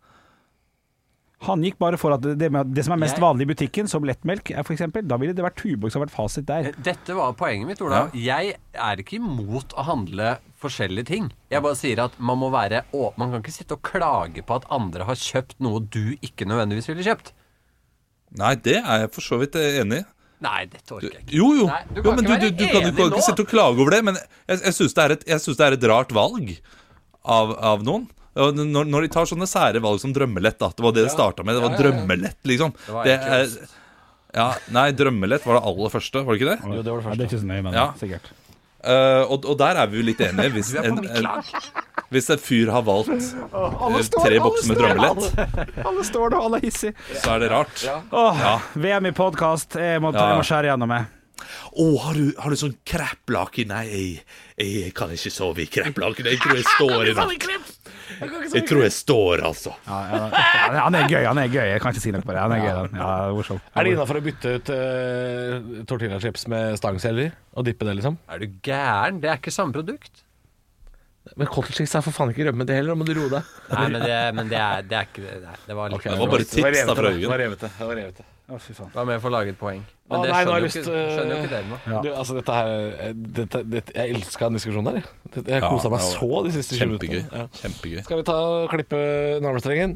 S4: Han gikk bare for at det, med, det som er mest
S6: Jeg-
S4: vanlig i butikken, som lettmelk, er for eksempel, da ville det vært Tuborg som har vært fasit der.
S6: Dette var poenget mitt, Ola. Jeg er ikke imot å handle forskjellige ting. Jeg bare sier at man må være å, Man kan ikke sitte og klage på at andre har kjøpt noe du ikke nødvendigvis ville kjøpt.
S5: Nei, det er jeg for så vidt eh, enig i.
S6: Nei, dette orker jeg ikke.
S5: Jo, jo.
S6: Nei, du kan
S5: jo men
S6: ikke
S5: du,
S6: være
S5: du, du kan jo
S6: enig
S5: ikke,
S6: nå.
S5: sitte og klage over det. Men jeg, jeg syns det, er et- jeg synes det er et rart valg av, av noen. Og Når, når de tar sånne sære valg som drømmelett, da. Det var det det starta med. Det var drømmelett, liksom.
S6: var
S5: Det
S6: ikke
S5: er, ja, nei, drømmelett var det aller første, var det ikke det?
S4: Jo, det var det første. Ja, det er ikke så nøye, men
S5: Ja.
S4: sikkert.
S5: Eh, og, og der er vi jo litt enige. Hvis
S6: Du er
S5: en,
S6: på mitt
S5: en,
S6: lag.
S5: hvis en fyr har valgt eh, tre bokser med drømmelett,
S4: Alle står der, alle er hissige.
S5: så er det rart. Å,
S4: Åh, VM i podkast. Jeg, må ta- jeg må skjære gjennom meg.
S5: har, du, har du sånn kreplake? Nei, jeg, jeg kan ikke sove i kreplake. Jeg tror jeg står i natt. Jeg tror jeg står, altså.
S4: Ja, han er gøy, han er gøy. Jeg kan ikke si noe på det. Han er gøy, den. Ja, det er morsom.
S3: Er det innafor å bytte ut uh, tortillachips med stangselleri? Og dippe det, liksom?
S6: Er du gæren? Det er ikke samme produkt.
S3: Men cottage cheese er for faen ikke rømme, det heller. Da må du roe deg.
S6: Nei, men det, men det, er, det er ikke det. Nei, det var litt
S5: Det var bare
S3: Det var
S5: tips da
S3: revete, det. Det
S5: fra
S3: var
S5: Øyvind.
S3: revete, det var revete.
S4: Å, fy faen.
S6: Det var med for å lage et poeng. Men
S3: Å,
S6: det
S3: nei, nå har jeg
S6: skjønner jo ikke,
S3: lyst, øh,
S6: skjønner jo ikke dere nå.
S3: Du, altså, dette her eh, dette, dette, Jeg elska den diskusjonen der. jeg. Dette- Jeg kosa meg
S5: det
S3: så de siste 20
S5: Kjempegøy.
S3: minuttene. Ja.
S5: Kjempegøy.
S3: Skal vi ta og klippe navlestrengen?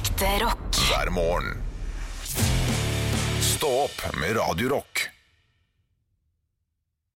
S2: Ekte rock.
S1: hver morgen. Stå opp med Radio Rock.